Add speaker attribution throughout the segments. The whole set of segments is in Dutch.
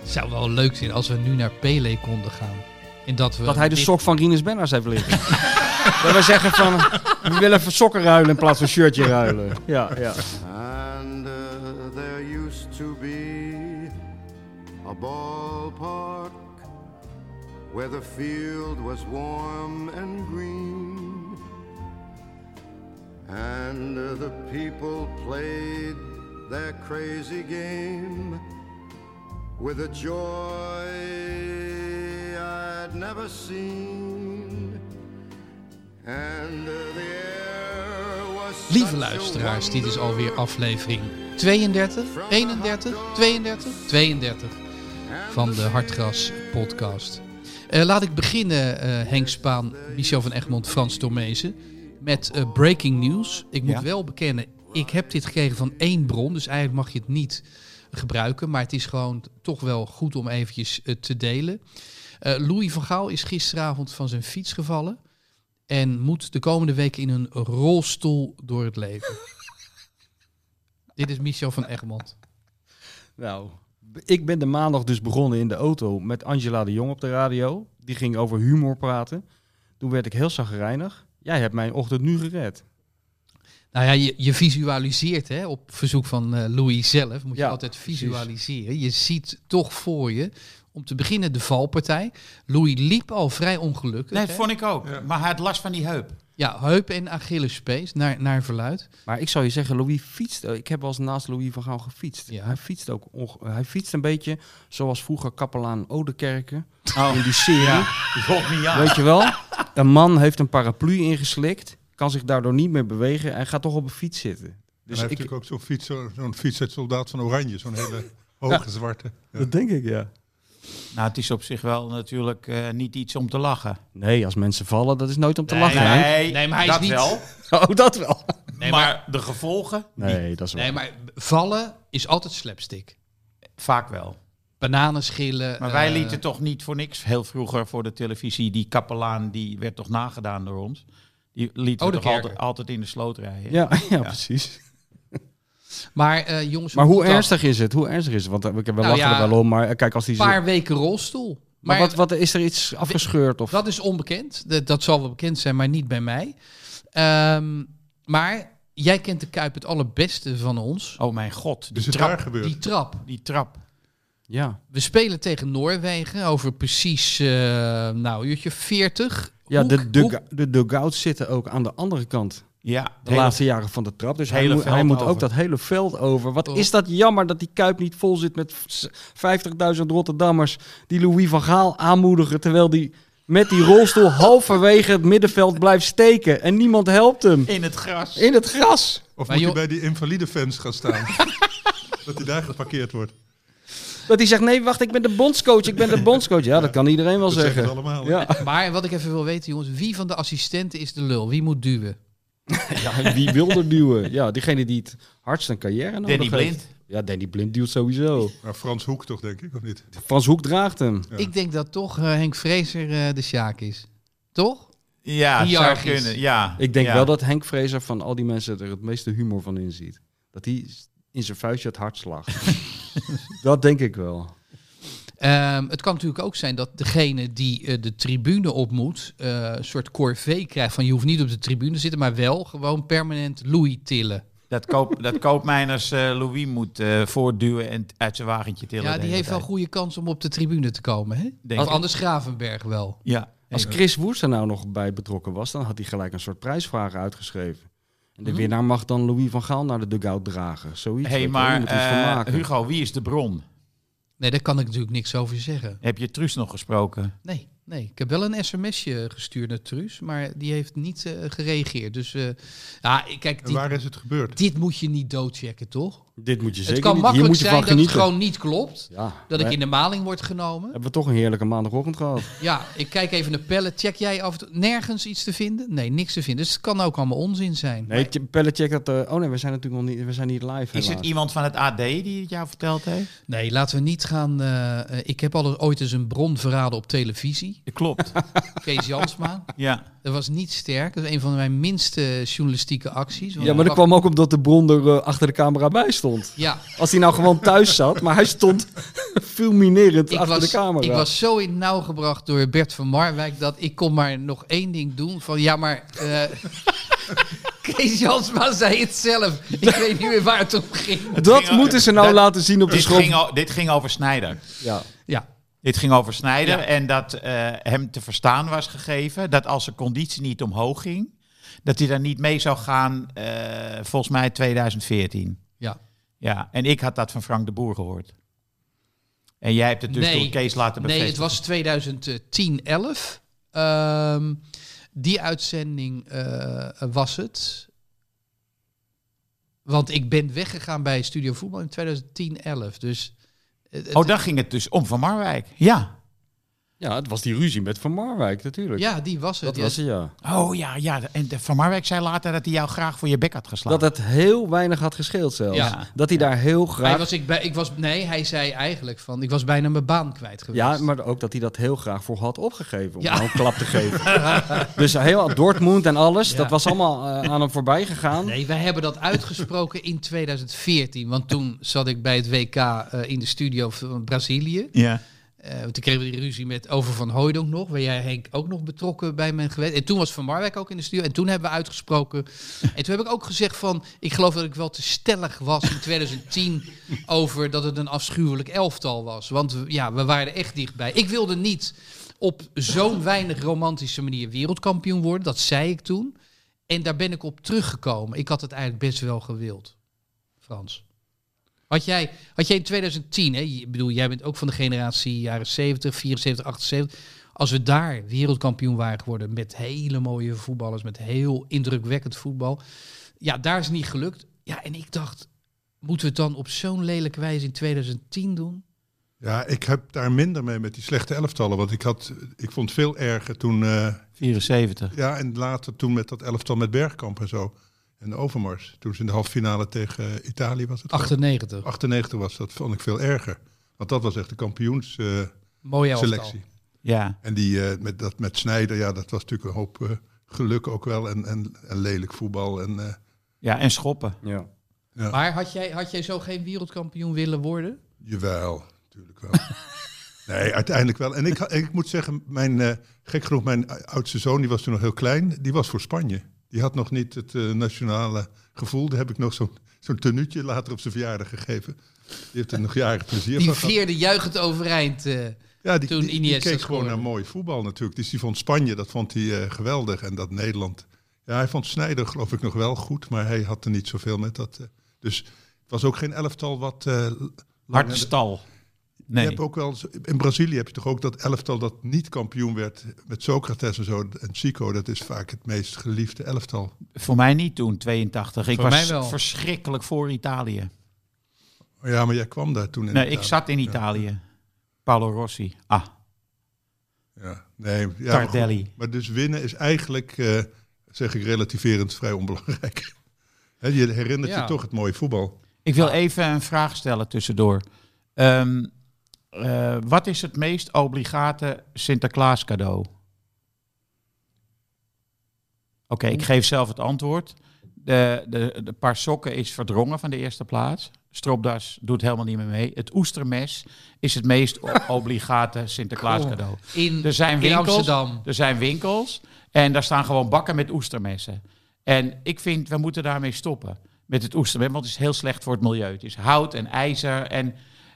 Speaker 1: Het zou wel leuk zijn als we nu naar Pele konden gaan. En dat, we
Speaker 2: Dat hij de
Speaker 1: dit-
Speaker 2: sok van Rinus Benners heeft liggen. dat we zeggen van, we willen even sokken ruilen in plaats van shirtje ruilen. Ja, ja.
Speaker 3: And uh, there used to be a ballpark where the field was warm and green. And uh, the people played their crazy game with a joy I'd never seen. And uh, the air was
Speaker 1: Lieve
Speaker 3: such a
Speaker 1: luisteraars, dit is
Speaker 3: wonder.
Speaker 1: alweer aflevering 32, 31, 32, 32 van de Hartgras podcast. Eh, laat ik beginnen, eh, Henk Spaan, Michel van Egmond, Frans Tormezen, met eh, breaking news. Ik moet
Speaker 2: Ja.
Speaker 1: wel bekennen, ik heb dit gekregen van één bron, dus eigenlijk mag je het niet gebruiken. Maar het is gewoon toch wel goed om eventjes eh, te delen. Eh, Louis van Gaal is gisteravond van zijn fiets gevallen en moet de komende week in een rolstoel door het leven. Dit is Michel van Egmond.
Speaker 2: Nou, ik ben de maandag dus begonnen in de auto met Angela de Jong op de radio. Die ging over humor praten. Toen werd ik heel zagrijnig. Jij hebt mijn ochtend nu gered.
Speaker 1: Nou ja, je, je visualiseert hè, op verzoek van eh, Louis zelf, moet
Speaker 2: Ja,
Speaker 1: je altijd
Speaker 2: precies.
Speaker 1: visualiseren. Je ziet toch voor je, om te beginnen de valpartij. Louis liep al vrij ongelukkig.
Speaker 4: Nee,
Speaker 1: hè?
Speaker 4: dat vond ik ook. Maar hij had last van die heup.
Speaker 1: Ja, heup en Achillespees, naar, naar verluid.
Speaker 2: Maar ik zou je zeggen, Louis fietst. Ik heb wel eens naast Louis van Gaal gefietst.
Speaker 1: Ja.
Speaker 2: Hij fietst ook. onge- Hij fietst een beetje zoals vroeger kapelaan Odekerken. In die serie.
Speaker 4: Volg me ja.
Speaker 2: Weet je wel? Een man heeft een paraplu ingeslikt. Kan zich daardoor niet meer bewegen. En gaat toch op een fiets zitten.
Speaker 5: Dus hij heeft
Speaker 2: ik-
Speaker 5: natuurlijk ook zo'n fiets, zo- zo'n fiets uit Soldaat van Oranje. Zo'n hele hoge zwarte. Ja.
Speaker 2: denk ik, ja.
Speaker 4: Nou, het is op zich wel natuurlijk eh, niet iets om te lachen.
Speaker 2: Nee, als mensen vallen, dat is nooit om te
Speaker 1: Nee,
Speaker 2: lachen. Henk.
Speaker 1: Nee, maar hij is
Speaker 4: dat
Speaker 1: niet-
Speaker 4: wel.
Speaker 2: Oh, dat wel.
Speaker 1: Nee,
Speaker 4: maar,
Speaker 1: maar-
Speaker 4: de gevolgen?
Speaker 2: Nee, dat is wel.
Speaker 1: Nee, maar vallen is altijd slapstick.
Speaker 4: Vaak wel.
Speaker 1: Bananenschillen.
Speaker 4: Maar wij
Speaker 1: eh,
Speaker 4: lieten toch niet voor niks heel vroeger voor de televisie. Die kapelaan die werd toch nagedaan door ons. Die lieten we toch
Speaker 1: Oudekerk.
Speaker 4: altijd, altijd in de sloot rijden.
Speaker 2: Ja, ja, precies.
Speaker 1: Maar eh, jongens,
Speaker 2: Maar hoe
Speaker 1: dat-
Speaker 2: ernstig is het? Hoe ernstig is het? Want eh, we we
Speaker 1: Nou
Speaker 2: lachen
Speaker 1: ja,
Speaker 2: er wel om, maar eh, kijk als die...
Speaker 1: Een paar weken rolstoel.
Speaker 2: maar wat, wat is er iets afgescheurd of...
Speaker 1: Dat is onbekend. Dat, dat zal wel bekend zijn, maar niet bij mij. Ehm, maar jij kent de Kuip het allerbeste van ons.
Speaker 4: Oh mijn god, die
Speaker 5: Dus het
Speaker 4: trap.
Speaker 5: daar gebeurt.
Speaker 1: Die trap.
Speaker 4: Die trap.
Speaker 2: Ja.
Speaker 1: We spelen tegen Noorwegen over precies, eh, nou, uurtje 40.
Speaker 2: Ja,
Speaker 1: Hoe-
Speaker 2: de,
Speaker 1: hoe-
Speaker 2: dug- de dugouts zitten ook aan de andere kant.
Speaker 4: Ja,
Speaker 2: De
Speaker 4: hele-
Speaker 2: laatste jaren van de trap. Dus
Speaker 4: het
Speaker 2: hij,
Speaker 4: hele
Speaker 2: moet- hij
Speaker 4: veld
Speaker 2: moet ook
Speaker 4: over.
Speaker 2: dat hele veld over. Wat
Speaker 1: Oh.
Speaker 2: is dat jammer dat die Kuip niet vol zit met s- 50.000 Rotterdammers... die Louis van Gaal aanmoedigen... terwijl die met die rolstoel halverwege het middenveld blijft steken. En niemand helpt hem.
Speaker 4: in het gras.
Speaker 2: In het gras.
Speaker 5: Of
Speaker 1: Maar
Speaker 5: moet
Speaker 1: joh-
Speaker 5: hij bij die invalide fans gaan staan? dat hij daar geparkeerd wordt.
Speaker 2: Dat hij zegt, nee, wacht, ik ben de bondscoach, ik ben de bondscoach. Ja, dat kan iedereen wel
Speaker 5: Dat zeggen ze
Speaker 2: zeggen.
Speaker 5: allemaal.
Speaker 2: Ja.
Speaker 1: Maar wat ik even wil weten, jongens, wie van de assistenten is de lul? Wie moet duwen?
Speaker 2: ja, wie wil er duwen? Ja, diegene die het hardst een carrière nodig
Speaker 4: Danny
Speaker 2: heeft.
Speaker 4: Blind.
Speaker 2: Ja, Danny Blind duwt sowieso.
Speaker 5: Maar Frans Hoek toch, denk ik, of niet?
Speaker 2: Frans Hoek draagt hem.
Speaker 5: Ja.
Speaker 1: Ik denk dat toch eh, Henk Vrezer eh, de Sjaak is. Toch?
Speaker 4: Ja, zou
Speaker 1: Hiërarchisch.
Speaker 4: kunnen. Ja,
Speaker 2: Ik denk
Speaker 4: ja.
Speaker 2: wel dat Henk Vrezer van al die mensen er het meeste humor van inziet. Dat hij in zijn vuistje het hart slaagt. dat denk ik wel.
Speaker 1: Ehm, het kan natuurlijk ook zijn dat degene die eh, de tribune op moet, eh, een soort corvée krijgt van je hoeft niet op de tribune te zitten, maar wel gewoon permanent Louis tillen.
Speaker 4: Dat, koop, dat koopmijners eh, Louis moet eh, voortduwen en t- uit zijn wagentje tillen.
Speaker 1: ja,
Speaker 4: de
Speaker 1: die
Speaker 4: hele
Speaker 1: heeft wel
Speaker 4: tijd.
Speaker 1: goede kans om op de tribune te komen. Hè?
Speaker 4: Denk
Speaker 1: of
Speaker 4: ik.
Speaker 1: anders Gravenberg wel.
Speaker 4: Ja.
Speaker 2: Als Chris Woers er nou nog bij betrokken was, dan had hij gelijk een soort prijsvraag uitgeschreven. En de
Speaker 1: Mhm.
Speaker 2: winnaar mag dan Louis van Gaal naar de dugout dragen. Zoiets.
Speaker 4: hey,
Speaker 2: weet je wel, je
Speaker 4: maar
Speaker 2: moet er iets van
Speaker 4: eh,
Speaker 2: maken.
Speaker 4: Hugo, wie is de bron?
Speaker 1: Nee, daar kan ik natuurlijk niks over zeggen.
Speaker 4: Heb je Truus nog gesproken?
Speaker 1: Nee, nee. Ik heb wel een sms'je gestuurd naar Truus, maar die heeft niet eh, gereageerd. Dus eh, ja, kijk,
Speaker 5: En
Speaker 1: die-
Speaker 5: waar is het gebeurd?
Speaker 1: dit moet je niet doodchecken, toch?
Speaker 2: Dit moet je
Speaker 1: het
Speaker 2: zeker
Speaker 1: kan
Speaker 2: niet. Hier
Speaker 1: makkelijk
Speaker 2: moet je
Speaker 1: zijn dat
Speaker 2: van
Speaker 1: het
Speaker 2: genieten.
Speaker 1: gewoon niet klopt.
Speaker 2: Ja,
Speaker 1: Dat
Speaker 2: we
Speaker 1: ik in de maling word genomen.
Speaker 2: Hebben we toch een heerlijke maandagochtend gehad.
Speaker 1: Ja, ik kijk even naar pellen. Check jij af en toe nergens iets te vinden? Nee, niks te vinden. Dus het kan ook allemaal onzin zijn.
Speaker 2: Nee, t- Pelletjek dat... eh, oh nee, we zijn natuurlijk nog niet, we zijn niet live
Speaker 4: Is het
Speaker 2: helaas.
Speaker 4: iemand van het AD die het jou verteld heeft?
Speaker 1: Nee, laten we niet gaan. eh, eh, ik heb al ooit eens een bron verraden op televisie.
Speaker 4: Klopt.
Speaker 1: Kees Jansma.
Speaker 4: ja.
Speaker 1: Dat was niet sterk. Dat is een van mijn minste journalistieke acties. Want
Speaker 2: Ja, maar dat kwam ook omdat de bron er eh, achter de camera bij stond.
Speaker 1: Ja,
Speaker 2: Als hij nou gewoon thuis zat, maar hij stond fulminerend
Speaker 1: Ik
Speaker 2: achter
Speaker 1: was,
Speaker 2: de camera.
Speaker 1: ik was zo in het nauw gebracht door Bert van Marwijk dat ik kon maar nog één ding doen. Van ja, maar eh Kees Jansma zei het zelf. Ik weet niet meer waar het om ging.
Speaker 2: dat
Speaker 4: ging-
Speaker 2: moeten ze nou
Speaker 4: dat-
Speaker 2: laten zien op de
Speaker 4: Dit
Speaker 2: school.
Speaker 4: ging, o- dit ging over Snijder.
Speaker 2: Ja.
Speaker 1: Ja,
Speaker 4: Dit ging over Snijder
Speaker 1: Ja.
Speaker 4: en dat eh, hem te verstaan was gegeven dat als zijn conditie niet omhoog ging, dat hij daar niet mee zou gaan, eh, volgens mij 2014.
Speaker 1: ja.
Speaker 4: Ja, en ik had dat van Frank de Boer gehoord. En jij hebt het dus
Speaker 1: Nee.
Speaker 4: door Kees laten
Speaker 1: Nee, het
Speaker 4: bevestigen.
Speaker 1: was 2010, 11. Ehm, die uitzending eh, was het. Want ik ben weggegaan bij Studio Voetbal in 2010, 11. Dus het- het-
Speaker 4: Oh, daar ging het dus om Van Marwijk. Ja.
Speaker 2: ja, het was die ruzie met Van Marwijk natuurlijk.
Speaker 1: ja, die was het.
Speaker 2: dat
Speaker 1: ja.
Speaker 2: was het, ja.
Speaker 4: Oh ja, ja. En de- Van Marwijk zei later dat hij jou graag voor je bek had geslagen.
Speaker 2: Dat het heel weinig had gescheeld zelfs.
Speaker 1: Ja.
Speaker 2: Dat hij daar heel graag...
Speaker 1: Hij was, ik, bij, ik was, nee, hij zei eigenlijk van, ik was bijna mijn baan kwijt geweest.
Speaker 2: Ja, maar ook dat hij dat heel graag voor had opgegeven. Om
Speaker 1: Ja.
Speaker 2: nou een klap te geven. dus heel Dortmund en alles,
Speaker 1: Ja.
Speaker 2: dat was allemaal eh, aan hem voorbij gegaan.
Speaker 1: Nee, wij hebben dat uitgesproken in 2014. Want toen zat ik bij het WK eh, in de studio van Brazilië.
Speaker 4: Ja.
Speaker 1: Eh, want toen kregen we die ruzie met Over van Hooydonk nog, waar jij Henk ook nog betrokken bij bent geweest. En toen was Van Marwijk ook in de studio en toen hebben we uitgesproken. En toen heb ik ook gezegd van, ik geloof dat ik wel te stellig was in 2010 over dat het een afschuwelijk elftal was. Want we- ja, we waren er echt dichtbij. Ik wilde niet op zo'n weinig romantische manier wereldkampioen worden, dat zei ik toen. En daar ben ik op teruggekomen. Ik had het eigenlijk best wel gewild, Frans. Had jij, had jij in 2010, hè, ik bedoel, jij bent ook van de generatie jaren 70, 74, 78. Als we daar wereldkampioen waren geworden met hele mooie voetballers, met heel indrukwekkend voetbal. Ja, daar is het niet gelukt. Ja, en ik dacht, moeten we het dan op zo'n lelijke wijze in 2010 doen?
Speaker 5: Ja, ik heb daar minder mee met die slechte elftallen. Want ik, had, ik vond veel erger toen... eh,
Speaker 4: 74.
Speaker 5: ja, en later toen met dat elftal met Bergkamp en zo. En de Overmars. Toen ze in de halve finale tegen eh, Italië was het.
Speaker 1: 98.
Speaker 5: 98 was dat, vond ik veel erger. Want dat was echt de kampioensselectie.
Speaker 1: Mooie elftal.
Speaker 4: Ja.
Speaker 5: En die, eh, met, dat, met Snijder, ja, dat was natuurlijk een hoop eh, geluk ook wel. En, en, en lelijk voetbal. En, eh,
Speaker 4: Ja, en schoppen.
Speaker 2: Ja.
Speaker 1: Maar had jij, had jij zo geen wereldkampioen willen worden?
Speaker 5: jawel, natuurlijk wel. nee, uiteindelijk wel. En ik, ha- ik moet zeggen, mijn, eh, gek genoeg, mijn oudste zoon, die was toen nog heel klein, die was voor Spanje. Die had nog niet het eh, nationale gevoel. Daar heb ik nog zo'n zo'n tenuutje later op zijn verjaardag gegeven. Die heeft er nog jaren plezier
Speaker 1: Die
Speaker 5: van gehad.
Speaker 1: vierde juichend overeind. eh.
Speaker 5: Ja, die,
Speaker 1: toen
Speaker 5: die- die
Speaker 1: Iniesta
Speaker 5: keek gewoon
Speaker 1: scoorde.
Speaker 5: naar mooi voetbal natuurlijk. Dus die vond Spanje, dat vond hij eh, geweldig. En dat Nederland. Ja, hij vond Snijder geloof ik nog wel goed, maar hij had er niet zoveel met dat. eh. dus het was ook geen elftal wat... eh, lang-
Speaker 4: Harde stal. Nee.
Speaker 5: Je hebt ook wel, eens- in Brazilië heb je toch ook dat elftal dat niet kampioen werd met Socrates en zo. En Chico, dat is vaak het meest geliefde elftal.
Speaker 4: Voor mij niet toen, 82. Ik
Speaker 1: Voor
Speaker 4: was
Speaker 1: mij wel.
Speaker 4: verschrikkelijk voor Italië.
Speaker 5: Ja, maar jij kwam daar toen in.
Speaker 4: Nee, ik
Speaker 5: Italië.
Speaker 4: zat in Italië. Paolo Rossi. Ah,
Speaker 5: Ja. Nee, ja, maar goed.
Speaker 4: Tardelli.
Speaker 5: Maar dus winnen is eigenlijk, eh, zeg ik relativerend, vrij onbelangrijk. Hè, je herinnert
Speaker 1: Ja.
Speaker 5: je toch het mooie voetbal.
Speaker 4: Ik wil even een vraag stellen tussendoor. Ehm, eh, wat is het meest obligate Sinterklaas cadeau? Oké, ik geef zelf het antwoord. De, de, de paar sokken is verdrongen van de eerste plaats. Stropdas doet helemaal niet meer mee. Het oestermes is het meest o- obligate Sinterklaas cadeau.
Speaker 1: In,
Speaker 4: Er zijn
Speaker 1: in
Speaker 4: winkels.
Speaker 1: Amsterdam.
Speaker 4: Er zijn winkels en daar staan gewoon bakken met oestermessen. En ik vind, we moeten daarmee stoppen met het oestermes, want het is heel slecht voor het milieu. Het is hout en ijzer. En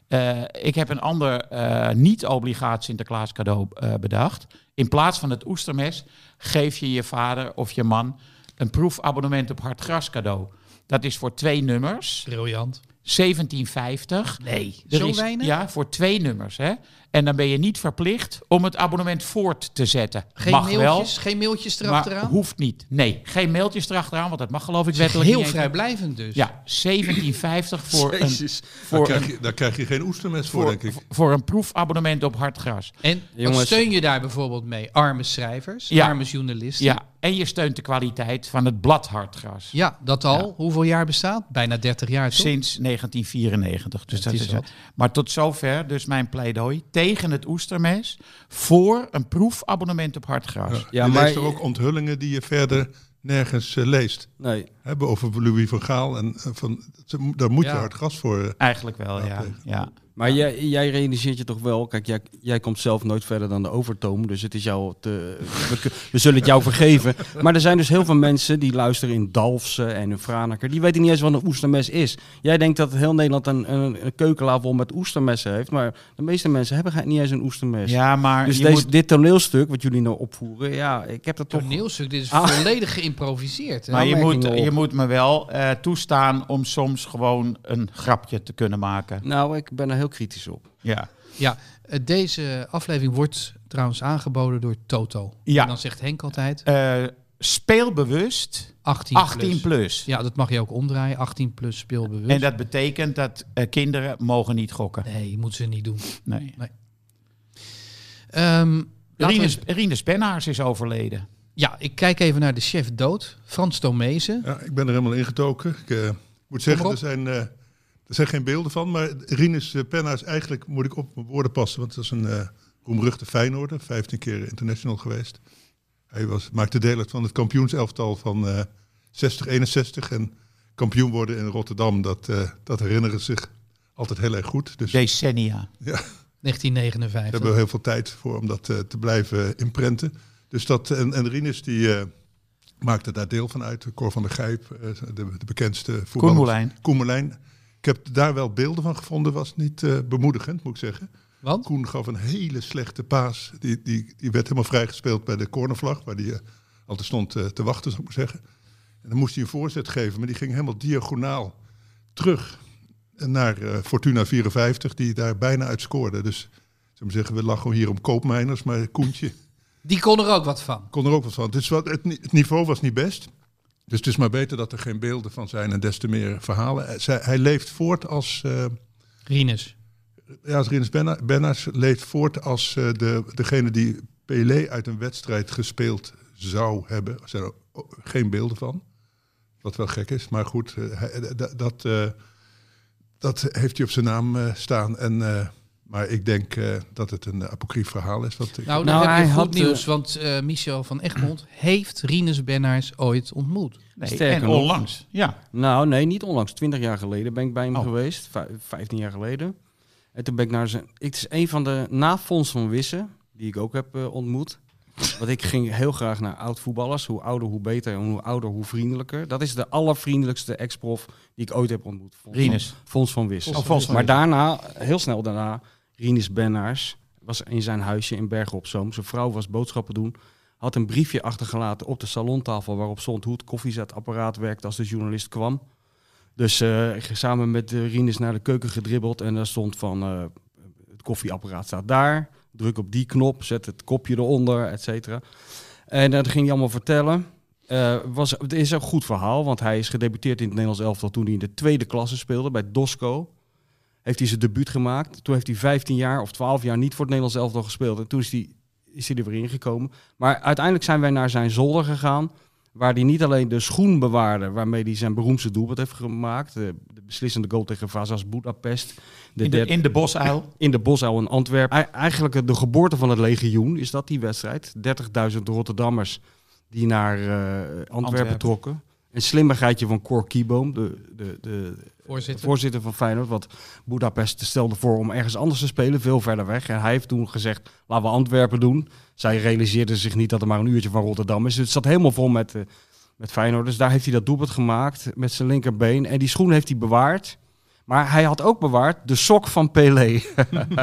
Speaker 4: eh, ik heb een ander eh, niet-obligaat Sinterklaas cadeau eh, bedacht. In plaats van het oestermes geef je je vader of je man een proefabonnement op hardgras cadeau. Dat is voor twee nummers,
Speaker 1: Briljant.
Speaker 4: 1750.
Speaker 1: Nee,
Speaker 4: Er
Speaker 1: zo
Speaker 4: is-
Speaker 1: weinig?
Speaker 4: Ja, voor twee nummers. Hè? En dan ben je niet verplicht om het abonnement voort te zetten.
Speaker 1: Geen
Speaker 4: mag
Speaker 1: mailtjes, geen mailtjes
Speaker 4: wel, maar
Speaker 1: erachteraan.
Speaker 4: hoeft niet. Nee, geen mailtjes erachteraan, want dat mag geloof ik
Speaker 1: Het is
Speaker 4: wettelijk
Speaker 1: heel
Speaker 4: niet eens.
Speaker 1: vrijblijvend dus.
Speaker 4: Ja, 1750 voor een,
Speaker 2: Jezus.
Speaker 5: Daar
Speaker 4: voor,
Speaker 5: krijg,
Speaker 4: een,
Speaker 5: je, daar krijg je geen oestermes voor,
Speaker 4: voor,
Speaker 5: denk ik.
Speaker 4: voor een proefabonnement op hardgras.
Speaker 1: En wat
Speaker 2: Jongens.
Speaker 1: steun je daar bijvoorbeeld mee? Arme schrijvers,
Speaker 4: Ja.
Speaker 1: arme journalisten.
Speaker 4: Ja, en je steunt de kwaliteit van het blad hardgras.
Speaker 1: Ja, dat al. Hoeveel jaar bestaat? Bijna 30 jaar, toch?
Speaker 4: Sinds 1994. Dus dat
Speaker 1: is
Speaker 4: is
Speaker 1: wat.
Speaker 4: Maar tot zover dus mijn pleidooi tegen het oestermes voor een proefabonnement op hardgras.
Speaker 5: Ja,
Speaker 2: Ja,
Speaker 5: je
Speaker 2: maar...
Speaker 5: leest er ook onthullingen die je verder nergens eh, leest.
Speaker 2: Nee,
Speaker 5: Hebben over Louis van Gaal. En, eh, van, ze- daar moet
Speaker 1: Ja.
Speaker 5: je hard gas voor. eh.
Speaker 4: Eigenlijk wel, ja.
Speaker 5: tegen.
Speaker 4: ja.
Speaker 2: Maar jij, jij realiseert je toch wel, kijk, jij, jij komt zelf nooit verder dan de overtoom, dus het is jou te, we, kun- we zullen het jou vergeven. Maar er zijn dus heel veel mensen die luisteren in Dalfsen en in Franeker, die weten niet eens wat een oestermes is. Jij denkt dat heel Nederland een, een, een keukenlaaf met oestermessen heeft, maar de meeste mensen hebben geen- niet eens een oestermes.
Speaker 4: Ja, maar
Speaker 2: dus
Speaker 4: je
Speaker 2: deze,
Speaker 4: moet-
Speaker 2: dit toneelstuk wat jullie nou opvoeren, ja, ik heb dat toch...
Speaker 1: Toneelstuk, dit is
Speaker 2: Ah.
Speaker 1: volledig geïmproviseerd. hè?
Speaker 4: Maar je moet,
Speaker 2: aanmerkingen op.
Speaker 4: je moet me wel eh, toestaan om soms gewoon een grapje te kunnen maken.
Speaker 2: Nou, ik ben er heel kritisch op.
Speaker 4: Ja.
Speaker 1: Ja, eh, deze aflevering wordt trouwens aangeboden door Toto.
Speaker 4: Ja.
Speaker 1: En dan zegt Henk altijd
Speaker 4: Eh, speelbewust
Speaker 1: 18 plus.
Speaker 4: 18 plus.
Speaker 1: Ja, dat mag je ook omdraaien. 18 plus speelbewust.
Speaker 4: En dat betekent dat eh, kinderen mogen niet gokken.
Speaker 1: Nee, moeten ze niet doen.
Speaker 4: Nee.
Speaker 1: Ehm, laten we
Speaker 4: Rinus,
Speaker 1: eens-
Speaker 4: Rinus Bennaars is overleden.
Speaker 1: Ja, ik kijk even naar de chef dood. Frans Tomezen.
Speaker 5: Ja, ik ben er helemaal ingetoken. Ik eh, moet zeggen,
Speaker 1: op.
Speaker 5: er zijn, eh, er zijn geen beelden van. Maar Rinus eh, Penna's, eigenlijk moet ik op mijn woorden passen. Want dat is een eh, roemruchte Feyenoorder. 15 keer international geweest. Hij was, maakte deel uit van het kampioenselftal van eh 60-61. En kampioen worden in Rotterdam, dat, eh, dat herinneren ze zich altijd heel erg goed. Dus
Speaker 4: Decennia.
Speaker 5: ja. Daar
Speaker 1: 1959.
Speaker 5: hebben we heel veel tijd voor om dat eh, te blijven imprenten. Dus dat, en, en Rinus die eh, maakte daar deel van uit. Cor van der Gijp, eh, de, de bekendste voetballer.
Speaker 4: Moulijn.
Speaker 5: Koen Moulijn. Ik heb daar wel beelden van gevonden, was niet eh, bemoedigend moet ik zeggen.
Speaker 1: Want?
Speaker 5: Koen gaf een hele slechte paas. Die, die, die werd helemaal vrijgespeeld bij de cornervlag, waar die eh, altijd stond eh, te wachten, zou ik maar zeggen. En dan moest hij een voorzet geven, maar die ging helemaal diagonaal terug naar eh, Fortuna 54, die daar bijna uit scoorde. Dus zou ik maar zeggen, we lachen hier om koopmijners, maar Koentje
Speaker 1: Die kon er ook wat van.
Speaker 5: kon er ook wat van. Dus wat, het, ni- het niveau was niet best. Dus het is maar beter dat er geen beelden van zijn en des te meer verhalen. Eh, zij- hij leeft voort als... eh,
Speaker 1: Rinus.
Speaker 5: ja, als Rinus Benna- Benners leeft voort als eh, de, degene die Pelé uit een wedstrijd gespeeld zou hebben. Er zijn ook- ook geen beelden van. Wat wel gek is, maar goed, eh, hij- eh, da- dat, eh, dat heeft hij op zijn naam eh, staan. En, eh, maar ik denk eh, dat het een apocryf verhaal is. Wat ik,
Speaker 1: Nou, dan
Speaker 2: Nou,
Speaker 1: heb
Speaker 2: hij
Speaker 1: je goed
Speaker 2: had, eh,
Speaker 1: nieuws, want eh, Michel van Egmond heeft Rinus Bennaars ooit ontmoet.
Speaker 4: Nee,
Speaker 2: Sterker
Speaker 4: en
Speaker 2: nog.
Speaker 4: onlangs. Ja.
Speaker 2: Nou, nee, niet onlangs. Twintig jaar geleden ben ik bij hem
Speaker 4: Oh.
Speaker 2: geweest. Vij- Vijftien jaar geleden. En toen ben ik naar zijn... Het is een van de nafonds van Wissen, die ik ook heb eh, ontmoet. Want ik ging heel graag naar oud-voetballers. Hoe ouder, hoe beter. En hoe ouder, hoe vriendelijker. Dat is de allervriendelijkste ex-prof die ik ooit heb ontmoet. Fons van-
Speaker 4: Rinus.
Speaker 2: Fons van Wissen.
Speaker 4: Oh, Fons van
Speaker 2: maar
Speaker 4: Wissen.
Speaker 2: daarna, heel snel daarna, Rinus Bennaars was in zijn huisje in Bergen op Zoom. Zijn vrouw was boodschappen doen. Had een briefje achtergelaten op de salontafel waarop stond hoe het koffiezetapparaat werkte als de journalist kwam. Dus eh, ik ging samen met eh, Rinus naar de keuken gedribbeld en daar stond van eh, het koffieapparaat staat daar. Druk op die knop, zet het kopje eronder, et cetera. En eh, dat ging hij allemaal vertellen. Eh, was, het is een goed verhaal, want hij is gedebuteerd in het Nederlands elftal toen hij in de tweede klasse speelde bij Dosco. Heeft hij zijn debuut gemaakt. Toen heeft hij 15 jaar of 12 jaar niet voor het Nederlands elftal gespeeld. En toen is hij, is hij er weer ingekomen. Maar uiteindelijk zijn wij naar zijn zolder gegaan. Waar hij niet alleen de schoen bewaarde waarmee hij zijn beroemdste doelpunt heeft gemaakt. De, de beslissende goal tegen Vazas Budapest. De
Speaker 4: In de,
Speaker 2: derde-
Speaker 4: in de bosuil.
Speaker 2: in de Bosuil in Antwerpen. Ei- Eigenlijk eh, de geboorte van het legioen is dat die wedstrijd. 30.000 Rotterdammers die naar eh, Antwerpen,
Speaker 4: Antwerpen.
Speaker 2: trokken. Een slimmigheidje van Cor Kieboom, de, de, de
Speaker 1: Voorzitter.
Speaker 2: voorzitter van Feyenoord. Want Budapest stelde voor om ergens anders te spelen, veel verder weg. En hij heeft toen gezegd, laten we Antwerpen doen. Zij realiseerden zich niet dat er maar een uurtje van Rotterdam is. Dus het zat helemaal vol met, eh, met Feyenoord. Dus daar heeft hij dat doelpunt gemaakt met zijn linkerbeen. En die schoen heeft hij bewaard. Maar hij had ook bewaard de sok van Pelé.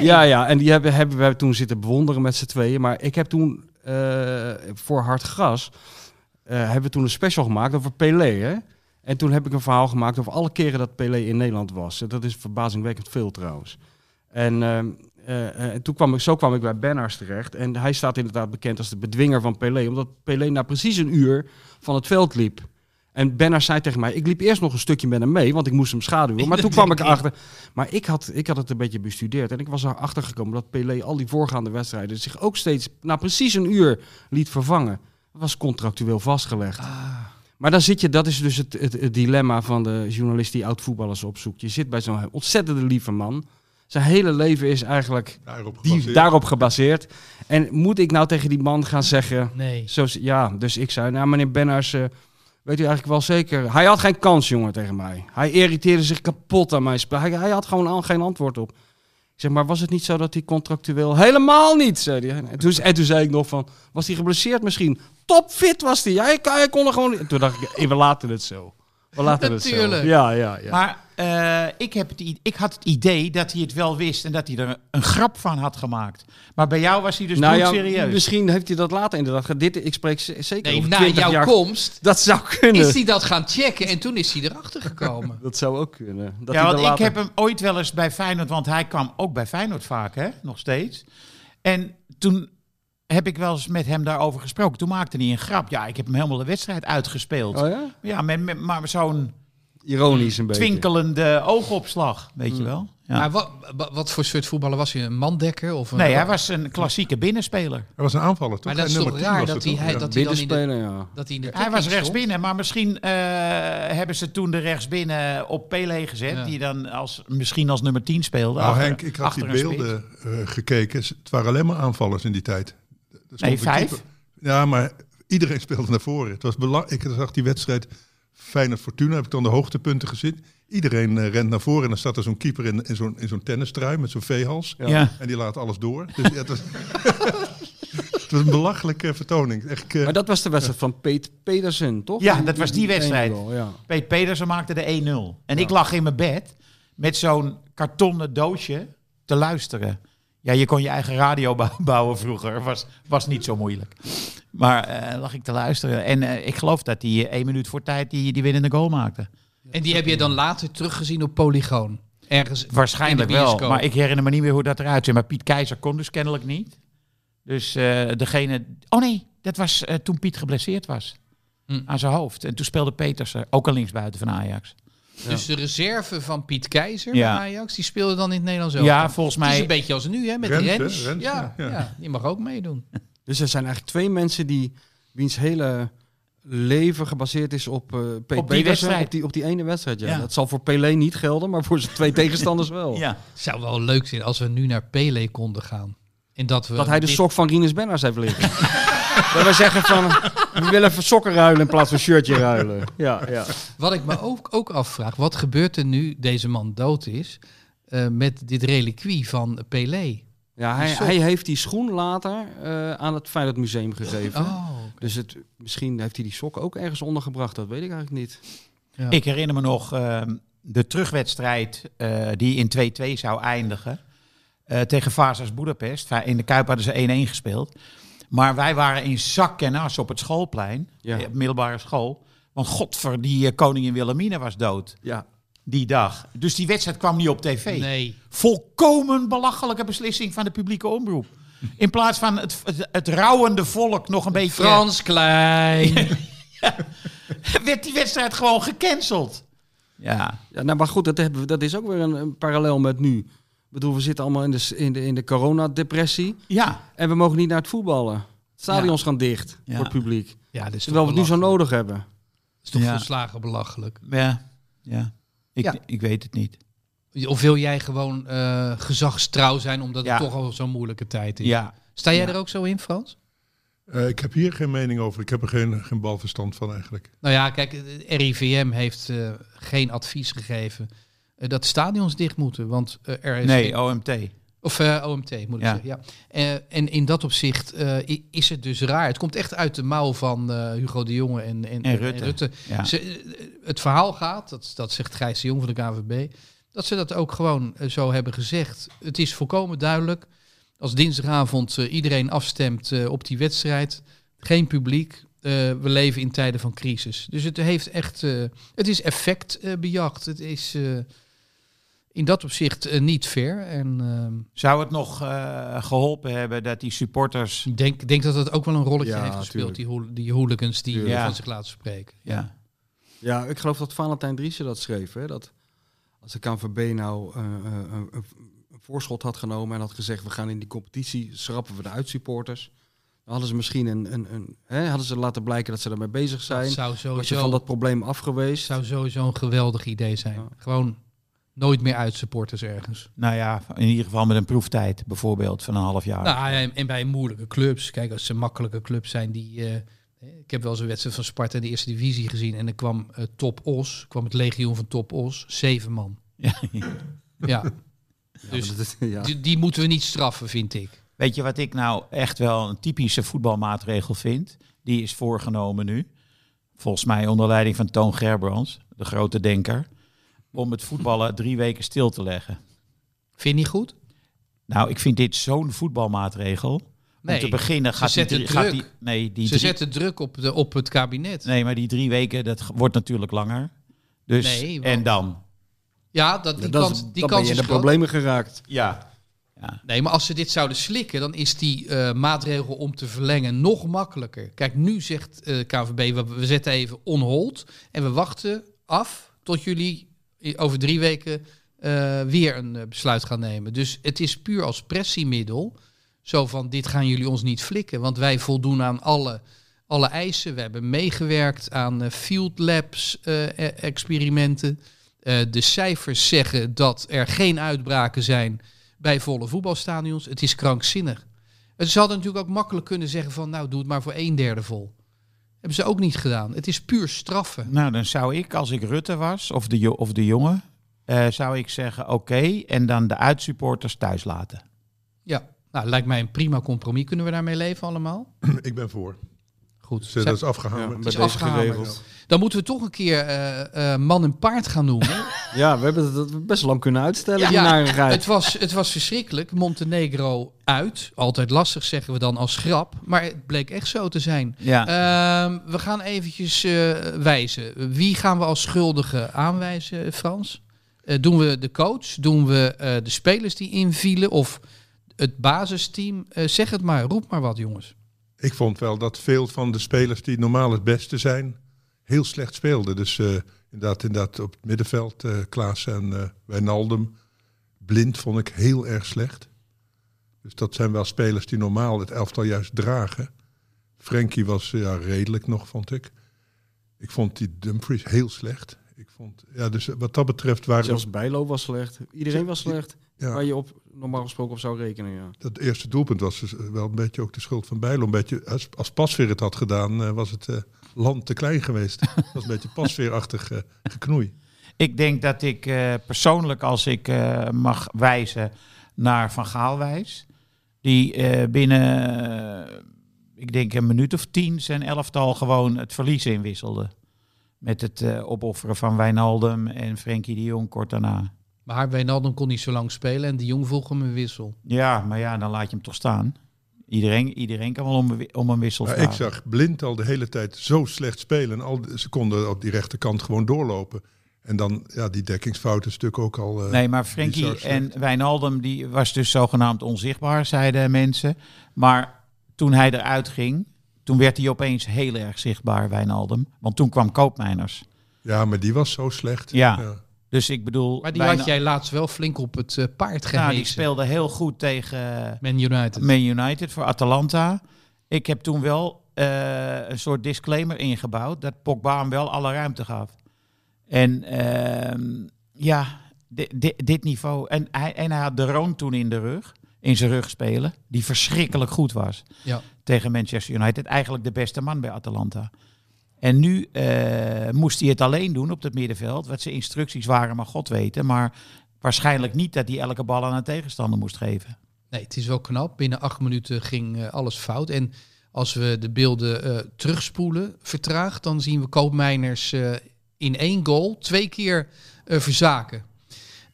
Speaker 2: Ja, ja, en die hebben, hebben wij toen zitten bewonderen met z'n tweeën. Maar ik heb toen eh, voor Hard Gras eh, hebben we toen een special gemaakt over Pelé. Hè? En toen heb ik een verhaal gemaakt over alle keren dat Pelé in Nederland was. En Dat is verbazingwekkend veel trouwens. En ehm, eh, eh, en toen kwam ik, zo kwam ik bij Benners terecht. En hij staat inderdaad bekend als de bedwinger van Pelé. Omdat Pelé na precies een uur van het veld liep. En Benners zei tegen mij, ik liep eerst nog een stukje met hem mee, want ik moest hem schaduwen. Maar toen kwam ik erachter. Maar ik had, ik had het een beetje bestudeerd. En ik was erachter gekomen dat Pelé al die voorgaande wedstrijden zich ook steeds na precies een uur liet vervangen. Dat was contractueel vastgelegd. Maar dan zit je, dat is dus het, het, het dilemma van de journalist die oud-voetballers opzoekt. Je zit bij zo'n ontzettende lieve man. Zijn hele leven is eigenlijk
Speaker 5: daarop
Speaker 2: die,
Speaker 5: gebaseerd.
Speaker 2: daarop gebaseerd. En moet ik nou tegen die man gaan zeggen...
Speaker 1: Nee.
Speaker 2: Zo, is- ja, dus ik zei, nou meneer Benners, eh, Weet u eigenlijk wel zeker. Hij had geen kans, jongen, tegen mij. Hij irriteerde zich kapot aan mijn spel. Hij, hij had gewoon al geen antwoord op. Ik zeg, maar was het niet zo dat hij contractueel... Helemaal niet, zei hij. En toen, en toen zei ik nog van, was hij geblesseerd misschien? Topfit was hij. Hij, hij kon er gewoon... niet- Toen dacht ik, eh, we laten het zo. We laten het
Speaker 1: Natuurlijk.
Speaker 2: zo. Ja, ja, ja.
Speaker 4: Maar eh, ik, heb het, i- ik had het idee dat hij het wel wist en dat hij er een grap van had gemaakt. Maar bij jou was hij dus niet serieus.
Speaker 2: Nou misschien heeft hij dat later inderdaad. ge- Dit, ik spreek z- zeker
Speaker 1: Nee,
Speaker 2: over
Speaker 1: na
Speaker 2: 20
Speaker 1: jouw
Speaker 2: jaar.
Speaker 1: komst
Speaker 2: Dat zou kunnen.
Speaker 1: is hij dat gaan checken en toen is hij erachter gekomen.
Speaker 2: Dat zou ook kunnen. Dat
Speaker 4: ja,
Speaker 2: hij
Speaker 4: want
Speaker 2: er
Speaker 4: ik
Speaker 2: later-
Speaker 4: heb hem ooit wel eens bij Feyenoord, want hij kwam ook bij Feyenoord vaak, hè? Nog steeds. En toen heb ik wel eens met hem daarover gesproken. Toen maakte hij een grap. Ja, ik heb hem helemaal de wedstrijd uitgespeeld.
Speaker 2: Oh ja?
Speaker 4: Ja, met, met, maar met zo'n
Speaker 2: Ironisch een beetje. Mm. Nou,
Speaker 4: twinkelende oogopslag, weet je wel. Ja.
Speaker 1: Maar wat, wat voor soort voetballer was hij? Een mandekker? Of een,
Speaker 4: nee, hij was een klassieke binnenspeler.
Speaker 5: Hij was een aanvaller, toch?
Speaker 1: Maar dat is
Speaker 5: Hij
Speaker 1: toch
Speaker 5: nummer 10
Speaker 1: raar
Speaker 5: was
Speaker 1: dat hij,
Speaker 5: toch?
Speaker 1: hij,
Speaker 5: Ja.
Speaker 1: dat hij dan in de,
Speaker 2: Binnenspelen, ja.
Speaker 1: dat hij in de
Speaker 4: Hij
Speaker 1: dekking
Speaker 4: was
Speaker 1: stond?
Speaker 4: rechtsbinnen, maar misschien eh, hebben ze toen de rechtsbinnen op Pele gezet.
Speaker 1: Ja.
Speaker 4: Die dan als, misschien als nummer 10 speelde.
Speaker 5: Nou,
Speaker 4: achter-
Speaker 5: Henk, ik had die
Speaker 4: achter een spits.
Speaker 5: beelden eh, gekeken. Ze- Het waren alleen maar aanvallers in die tijd. Er stond
Speaker 4: Nee,
Speaker 5: een
Speaker 4: vijf.
Speaker 5: keeper. Ja, maar iedereen speelde naar voren. Het was belang... Ik zag die wedstrijd Feyenoord Fortuna, heb ik dan de hoogtepunten gezien. Iedereen eh, rent naar voren en dan staat er zo'n keeper in, in zo'n, in zo'n tennistrui met zo'n veehals.
Speaker 4: Ja. Ja.
Speaker 5: En die laat alles door. Dus, ja, het, was... het was een belachelijke vertoning. Echt, eh,
Speaker 2: Maar dat was de wedstrijd van Peet Pedersen, toch?
Speaker 4: Ja, dat was die wedstrijd.
Speaker 2: ene goal, ja.
Speaker 4: Peet Pedersen maakte de 1-0. En ik lag in mijn bed met zo'n kartonnen doosje te luisteren. Ja, je kon je eigen radio bou- bouwen vroeger. Was, was niet zo moeilijk. Maar eh, lag ik te luisteren. En eh, ik geloof dat hij eh, één minuut voor tijd die, die winnende goal maakte.
Speaker 1: En die heb je dan later teruggezien op Polygoon. Ergens.
Speaker 4: Waarschijnlijk
Speaker 1: in de
Speaker 4: wel,
Speaker 1: bioscoop.
Speaker 4: maar ik herinner me niet meer hoe dat eruit ziet. Maar Piet Keizer kon dus kennelijk niet. Dus eh, degene... Oh nee, dat was eh, toen Piet geblesseerd was.
Speaker 1: Hm.
Speaker 4: Aan zijn hoofd. En toen speelde Petersen, ook een linksbuiten van Ajax.
Speaker 1: Dus de reserve van Piet Keizer
Speaker 4: Ja.
Speaker 1: bij Ajax, die speelde dan in het Nederlands ook.
Speaker 4: Ja, volgens
Speaker 1: Het is
Speaker 4: mij...
Speaker 1: een beetje als nu, hè, met
Speaker 5: Rens,
Speaker 1: Rens.
Speaker 5: hè?
Speaker 1: Rens,
Speaker 5: Rens,
Speaker 1: ja,
Speaker 5: ja.
Speaker 1: ja. die mag ook meedoen.
Speaker 2: Dus er zijn eigenlijk twee mensen die wiens hele leven gebaseerd is op eh Peet
Speaker 4: die
Speaker 2: Pedersen,
Speaker 4: wedstrijd.
Speaker 2: Op die, op die ene wedstrijd, ja.
Speaker 4: Ja.
Speaker 2: Dat zal voor Pelé niet gelden, maar voor zijn twee tegenstanders wel.
Speaker 4: Ja.
Speaker 1: Zou wel leuk zijn als we nu naar Pele konden gaan. En dat we
Speaker 2: Dat hij de
Speaker 1: dit-
Speaker 2: sok van Rinus Benners heeft liggen. dat we zeggen van, we willen even sokken ruilen in plaats van shirtje ruilen. Ja, ja.
Speaker 1: Wat ik me ook, ook afvraag, wat gebeurt er nu deze man dood is eh, met dit reliquie van Pele?
Speaker 2: ja hij,
Speaker 1: Die sok.
Speaker 2: hij heeft die schoen later eh, aan het Feyenoord Museum gegeven.
Speaker 1: Oh,
Speaker 2: Dus het, misschien heeft hij die sok ook ergens ondergebracht, dat weet ik eigenlijk niet.
Speaker 1: Ja.
Speaker 4: Ik herinner me nog ehm, de terugwedstrijd eh, die in 2-2 zou eindigen. eh, tegen Vazas Budapest. Va- In de Kuip hadden ze 1-1 gespeeld. Maar wij waren in zak en as op het schoolplein.
Speaker 2: Ja.
Speaker 4: eh, Op middelbare school. Want godver, die eh, koningin Wilhelmina was dood
Speaker 2: Ja,
Speaker 4: die dag. Dus die wedstrijd kwam niet op tv.
Speaker 1: nee.
Speaker 4: Volkomen belachelijke beslissing van de publieke omroep. In plaats van het, het, het rouwende volk nog een beetje...
Speaker 1: Frans Klein.
Speaker 4: werd die wedstrijd gewoon gecanceld. Ja.
Speaker 2: Ja, nou, maar goed, dat, hebben we, dat is ook weer een, een parallel met nu. Ik bedoel, we zitten allemaal in de, s- in de, in de coronadepressie.
Speaker 4: Ja.
Speaker 2: En we mogen niet naar het voetballen. Stadions gaan dicht
Speaker 4: Ja.
Speaker 2: voor het publiek.
Speaker 1: ja, dat is toch
Speaker 2: Terwijl we het nu zo
Speaker 1: belachelijk.
Speaker 2: nodig hebben.
Speaker 1: Dat is toch
Speaker 4: Ja.
Speaker 1: volslagen belachelijk.
Speaker 4: Ja, ja. Ik,
Speaker 1: Ja.
Speaker 4: ik weet het niet.
Speaker 1: Of wil jij gewoon eh, gezagstrouw zijn omdat
Speaker 4: Ja.
Speaker 1: het toch al zo'n moeilijke tijd is?
Speaker 4: Ja.
Speaker 1: Sta jij
Speaker 4: Ja.
Speaker 1: er ook zo in, Frans?
Speaker 5: eh, ik heb hier geen mening over. Ik heb er geen, geen balverstand van eigenlijk.
Speaker 1: Nou ja, kijk, het RIVM heeft eh, geen advies gegeven eh, dat stadions dicht moeten. Want eh, er is.
Speaker 4: Nee, OMT.
Speaker 1: Of eh, OMT, moet ik
Speaker 4: Ja.
Speaker 1: zeggen. Ja. Eh, en in dat opzicht eh, i- is het dus raar. Het komt echt uit de mouw van eh, Hugo de Jonge en, en,
Speaker 4: En Rutte. Ja.
Speaker 1: Ze, eh, het verhaal gaat, dat, dat zegt Gijs de Jong van de KVB, dat ze dat ook gewoon eh, zo hebben gezegd. Het is volkomen duidelijk. Als dinsdagavond eh, iedereen afstemt eh, op die wedstrijd, geen publiek. eh, we leven in tijden van crisis. Dus het heeft echt. eh, het is effectbejacht. het is eh, in dat opzicht eh, niet fair. En ehm,
Speaker 4: Zou het nog eh, geholpen hebben dat die supporters...
Speaker 1: ik denk, denk dat dat ook wel een rolletje
Speaker 2: Ja,
Speaker 1: heeft gespeeld,
Speaker 2: tuurlijk.
Speaker 1: die, hool- die hooligans die
Speaker 4: Tuurlijk.
Speaker 1: eh, van
Speaker 4: Ja.
Speaker 1: zich laten spreken.
Speaker 4: Ja.
Speaker 2: Ja, ik geloof dat Valentijn Driessen dat schreef. Hè? Dat als de KNVB nou eh, eh, een, een voorschot had genomen en had gezegd... we gaan in die competitie, schrappen we de uitsupporters. Dan hadden ze misschien een... een, een hè? Hadden ze laten blijken dat ze daarmee
Speaker 1: Dat
Speaker 2: bezig zijn.
Speaker 1: zou
Speaker 2: Was je
Speaker 1: sowieso
Speaker 2: van dat probleem af
Speaker 1: Het
Speaker 2: geweest?
Speaker 1: zou sowieso een geweldig idee zijn.
Speaker 2: Ja.
Speaker 1: Gewoon nooit meer uit supporters ergens.
Speaker 4: Nou ja, in ieder geval met een proeftijd bijvoorbeeld van een half jaar.
Speaker 1: Nou, en, en bij moeilijke clubs. Kijk, als ze makkelijke clubs zijn die eh, Hè, Ik heb wel eens een wedstrijd van Sparta in de eerste divisie gezien. En dan kwam eh, Top Os, kwam het legioen van Top Os, zeven man. Ja, dus
Speaker 2: Dat is- ja.
Speaker 1: die, die moeten we niet straffen, vind ik.
Speaker 4: Weet je wat ik nou echt wel een typische voetbalmaatregel vind? Die is voorgenomen nu. Volgens mij onder leiding van Toon Gerbrands, de grote denker. Om het voetballen drie weken stil te leggen.
Speaker 1: Vind je niet goed?
Speaker 4: Nou, ik vind dit zo'n voetbalmaatregel.
Speaker 1: Nee,
Speaker 4: Om te beginnen gaat die,
Speaker 1: zetten
Speaker 4: drie- gaat
Speaker 1: druk.
Speaker 4: die... Nee, die
Speaker 1: Ze
Speaker 4: drie-
Speaker 1: zetten druk op, de, op het kabinet.
Speaker 4: nee, maar die drie weken, dat ge- wordt natuurlijk langer. Dus,
Speaker 1: Nee, want-
Speaker 4: en dan?
Speaker 1: Ja, dat, die
Speaker 2: dat is-
Speaker 1: kans, die
Speaker 2: dan ben
Speaker 1: kans
Speaker 2: je
Speaker 1: is
Speaker 2: in de
Speaker 1: groot.
Speaker 2: problemen geraakt.
Speaker 4: Ja.
Speaker 1: Nee, maar als ze dit zouden slikken, dan is die eh, maatregel om te verlengen nog makkelijker. Kijk, nu zegt eh KVB, we, we zetten even on hold en we wachten af tot jullie i- over drie weken eh, weer een eh, besluit gaan nemen. Dus het is puur als pressiemiddel, zo van dit gaan jullie ons niet flikken, want wij voldoen aan alle, alle eisen. We hebben meegewerkt aan eh, field labs eh, e- experimenten. Eh, de cijfers zeggen dat er geen uitbraken zijn bij volle voetbalstadions. Het is krankzinnig. En Ze hadden natuurlijk ook makkelijk kunnen zeggen van... nou, doe het maar voor een derde vol. Hebben ze ook niet gedaan. Het is puur straffen.
Speaker 4: Nou, dan zou ik, als ik Rutte was, of de, jo- of de jongen, eh, zou ik zeggen oké. en dan de uitsupporters thuis laten.
Speaker 1: Ja, nou, lijkt mij een prima compromis. Kunnen we daarmee leven allemaal?
Speaker 5: Ik ben voor.
Speaker 1: Goed.
Speaker 5: Dus, eh, dat is afgehamerd.
Speaker 1: is
Speaker 2: bij deze
Speaker 1: afgehamerd.
Speaker 2: geregeld.
Speaker 1: Dan moeten we toch een keer eh, eh, man en paard gaan noemen.
Speaker 2: Ja, we hebben dat best lang kunnen uitstellen, die
Speaker 1: Ja,
Speaker 2: narigheid.
Speaker 1: het, was, het was verschrikkelijk. Montenegro uit. Altijd lastig zeggen we dan als grap. Maar het bleek echt zo te zijn.
Speaker 4: Ja.
Speaker 1: Ehm, we gaan eventjes eh, wijzen. Wie gaan we als schuldige aanwijzen, Frans? Eh, doen we de coach? Doen we eh, de spelers die invielen? Of het basisteam? Eh, zeg het maar, roep maar wat, jongens.
Speaker 5: Ik vond wel dat veel van de spelers die normaal het beste zijn, heel slecht speelden. Dus eh, inderdaad, inderdaad, op het middenveld, eh Klaas en eh Wijnaldum. Blind vond ik heel erg slecht. Dus dat zijn wel spelers die normaal het elftal juist dragen. Frenkie was eh, ja, redelijk nog, vond ik. Ik vond die Dumfries heel slecht. Ik vond, ja, dus wat dat betreft waren
Speaker 2: Zelfs Bijlo was slecht. Iedereen was slecht.
Speaker 5: ja.
Speaker 2: Waar je op, normaal gesproken op zou rekenen, ja.
Speaker 5: dat eerste doelpunt was dus wel een beetje ook de schuld van Bijlo. Een beetje, als, als Pasveer het had gedaan, eh, was het eh, land te klein geweest. Het was een beetje pasveerachtig eh, geknoei.
Speaker 4: Ik denk dat ik eh, persoonlijk, als ik eh, mag wijzen naar Van Gaal wijs, die eh, binnen, eh, ik denk een minuut of tien, zijn elftal gewoon het verlies inwisselde. Met het eh, opofferen van Wijnaldum en Frenkie de Jong kort daarna.
Speaker 1: Maar Wijnaldum kon niet zo lang spelen en de Jong vroeg hem een wissel.
Speaker 4: Ja, maar ja, dan laat je hem toch staan. Iedereen, iedereen kan wel om, een wi- om een wissel
Speaker 5: Maar
Speaker 4: vragen.
Speaker 5: ik zag Blind al de hele tijd zo slecht spelen. En al, die- ze konden op die rechterkant gewoon doorlopen. En dan, ja, die dekkingsfout is natuurlijk ook al... eh,
Speaker 4: Nee, maar Frenkie
Speaker 5: bizar slecht.
Speaker 4: en Wijnaldum die was dus zogenaamd onzichtbaar, zeiden mensen. Maar toen hij eruit ging, toen werd hij opeens heel erg zichtbaar, Wijnaldum. Want toen kwam Koopmijners.
Speaker 5: Ja, maar die was zo slecht.
Speaker 4: Ja. Dus ik bedoel,
Speaker 1: Maar die
Speaker 4: Wijna-
Speaker 1: had jij laatst wel flink op het eh, paard
Speaker 4: nou, die
Speaker 1: gehezen.
Speaker 4: speelde heel goed tegen
Speaker 1: Man United.
Speaker 4: Man United voor Atalanta. Ik heb toen wel eh, een soort disclaimer ingebouwd dat Pogba hem wel alle ruimte gaf. En ehm, ja, di- di- dit niveau. En hij, en hij had de Roon toen in de rug, in zijn rug spelen, die verschrikkelijk goed was
Speaker 1: Ja.
Speaker 4: tegen Manchester United. Eigenlijk de beste man bij Atalanta. En nu eh, moest hij het alleen doen op het middenveld. Wat zijn instructies waren, maar God weten. Maar waarschijnlijk niet dat hij elke bal aan een tegenstander moest geven.
Speaker 1: Nee, het is wel knap. Binnen acht minuten ging eh, alles fout. En als we de beelden eh, terugspoelen, vertraagd, dan zien we Koopmeiners eh, in één goal twee keer eh, verzaken.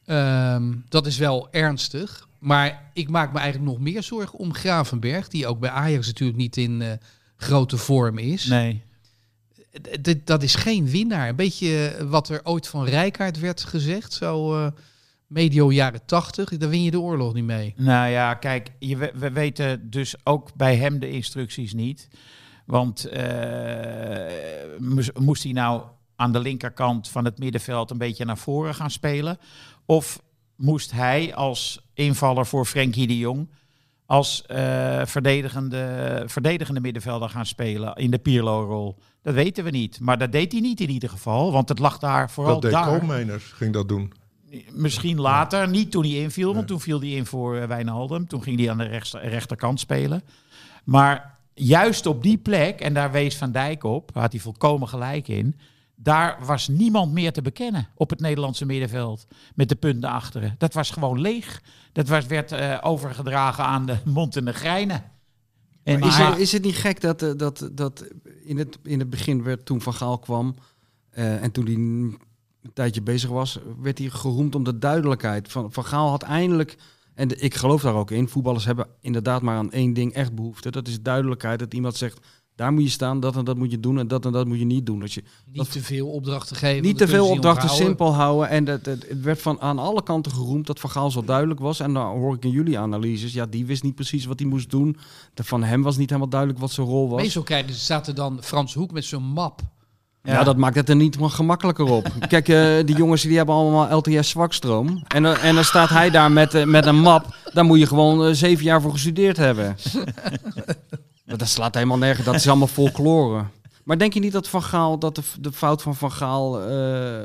Speaker 1: Ehm, dat is wel ernstig. Maar ik maak me eigenlijk nog meer zorgen om Gravenberg, die ook bij Ajax natuurlijk niet in eh, grote vorm is.
Speaker 4: Nee.
Speaker 1: D- dit- dat is geen winnaar. Een beetje eh, wat er ooit van Rijkaard werd gezegd, zo eh, medio jaren tachtig. Daar win je de oorlog niet mee.
Speaker 4: Nou ja, kijk, je, we, we weten dus ook bij hem de instructies niet. Want eh, moest- moest hij nou aan de linkerkant van het middenveld een beetje naar voren gaan spelen? Of moest hij als invaller voor Frenkie de Jong als eh, verdedigende, verdedigende middenvelder gaan spelen in de Pirlo-rol? Dat weten we niet. Maar dat deed hij niet in ieder geval, want het lag daar vooral
Speaker 5: Dat deed
Speaker 4: daar.
Speaker 5: Koolmeiners, ging dat doen.
Speaker 4: Misschien later, niet toen hij inviel,
Speaker 5: Nee.
Speaker 4: want toen viel hij in voor eh, Wijnaldum. Toen ging hij aan de rechts- rechterkant spelen. Maar juist op die plek, en daar wees Van Dijk op, daar had hij volkomen gelijk in. Daar was niemand meer te bekennen op het Nederlandse middenveld. Met de punten achteren. Dat was gewoon leeg. Dat was, werd eh, overgedragen aan de Montenegrijnen. En
Speaker 2: Maar is,
Speaker 4: maar-
Speaker 2: het, is het niet gek dat, eh, dat, dat in, het, in het begin werd toen Van Gaal kwam eh, en toen hij een tijdje bezig was, werd hij geroemd om de duidelijkheid. Van, van Gaal had eindelijk, en de- ik geloof daar ook in, voetballers hebben inderdaad maar aan één ding echt behoefte. Dat is duidelijkheid, dat iemand zegt, daar moet je staan, dat en dat moet je doen en dat en dat moet je niet doen. Dat je
Speaker 1: Niet te veel opdrachten geven.
Speaker 2: niet
Speaker 1: want
Speaker 2: te
Speaker 1: dan kunnen
Speaker 2: veel
Speaker 1: ze
Speaker 2: opdrachten
Speaker 1: onthouden.
Speaker 2: simpel houden. En dat, dat- het werd van aan alle kanten geroemd dat Van Gaal zo duidelijk was. En dan hoor ik in jullie analyses, ja, die wist niet precies wat hij moest doen. De, van hem was niet helemaal duidelijk wat zijn rol was.
Speaker 1: Meestal krijgen ze, staat er dan Frans Hoek met zo'n map.
Speaker 2: Ja. dat maakt het er niet wat gemakkelijker op. Kijk, eh, die jongens die hebben allemaal LTS zwakstroom. En, dan- en dan staat hij daar met, eh, met een map. Daar moet je gewoon eh, zeven jaar voor gestudeerd hebben. Maar dat slaat helemaal nergens. Dat is allemaal folklore. Maar denk je niet dat, van Gaal, dat de, f- de fout van Van Gaal eh,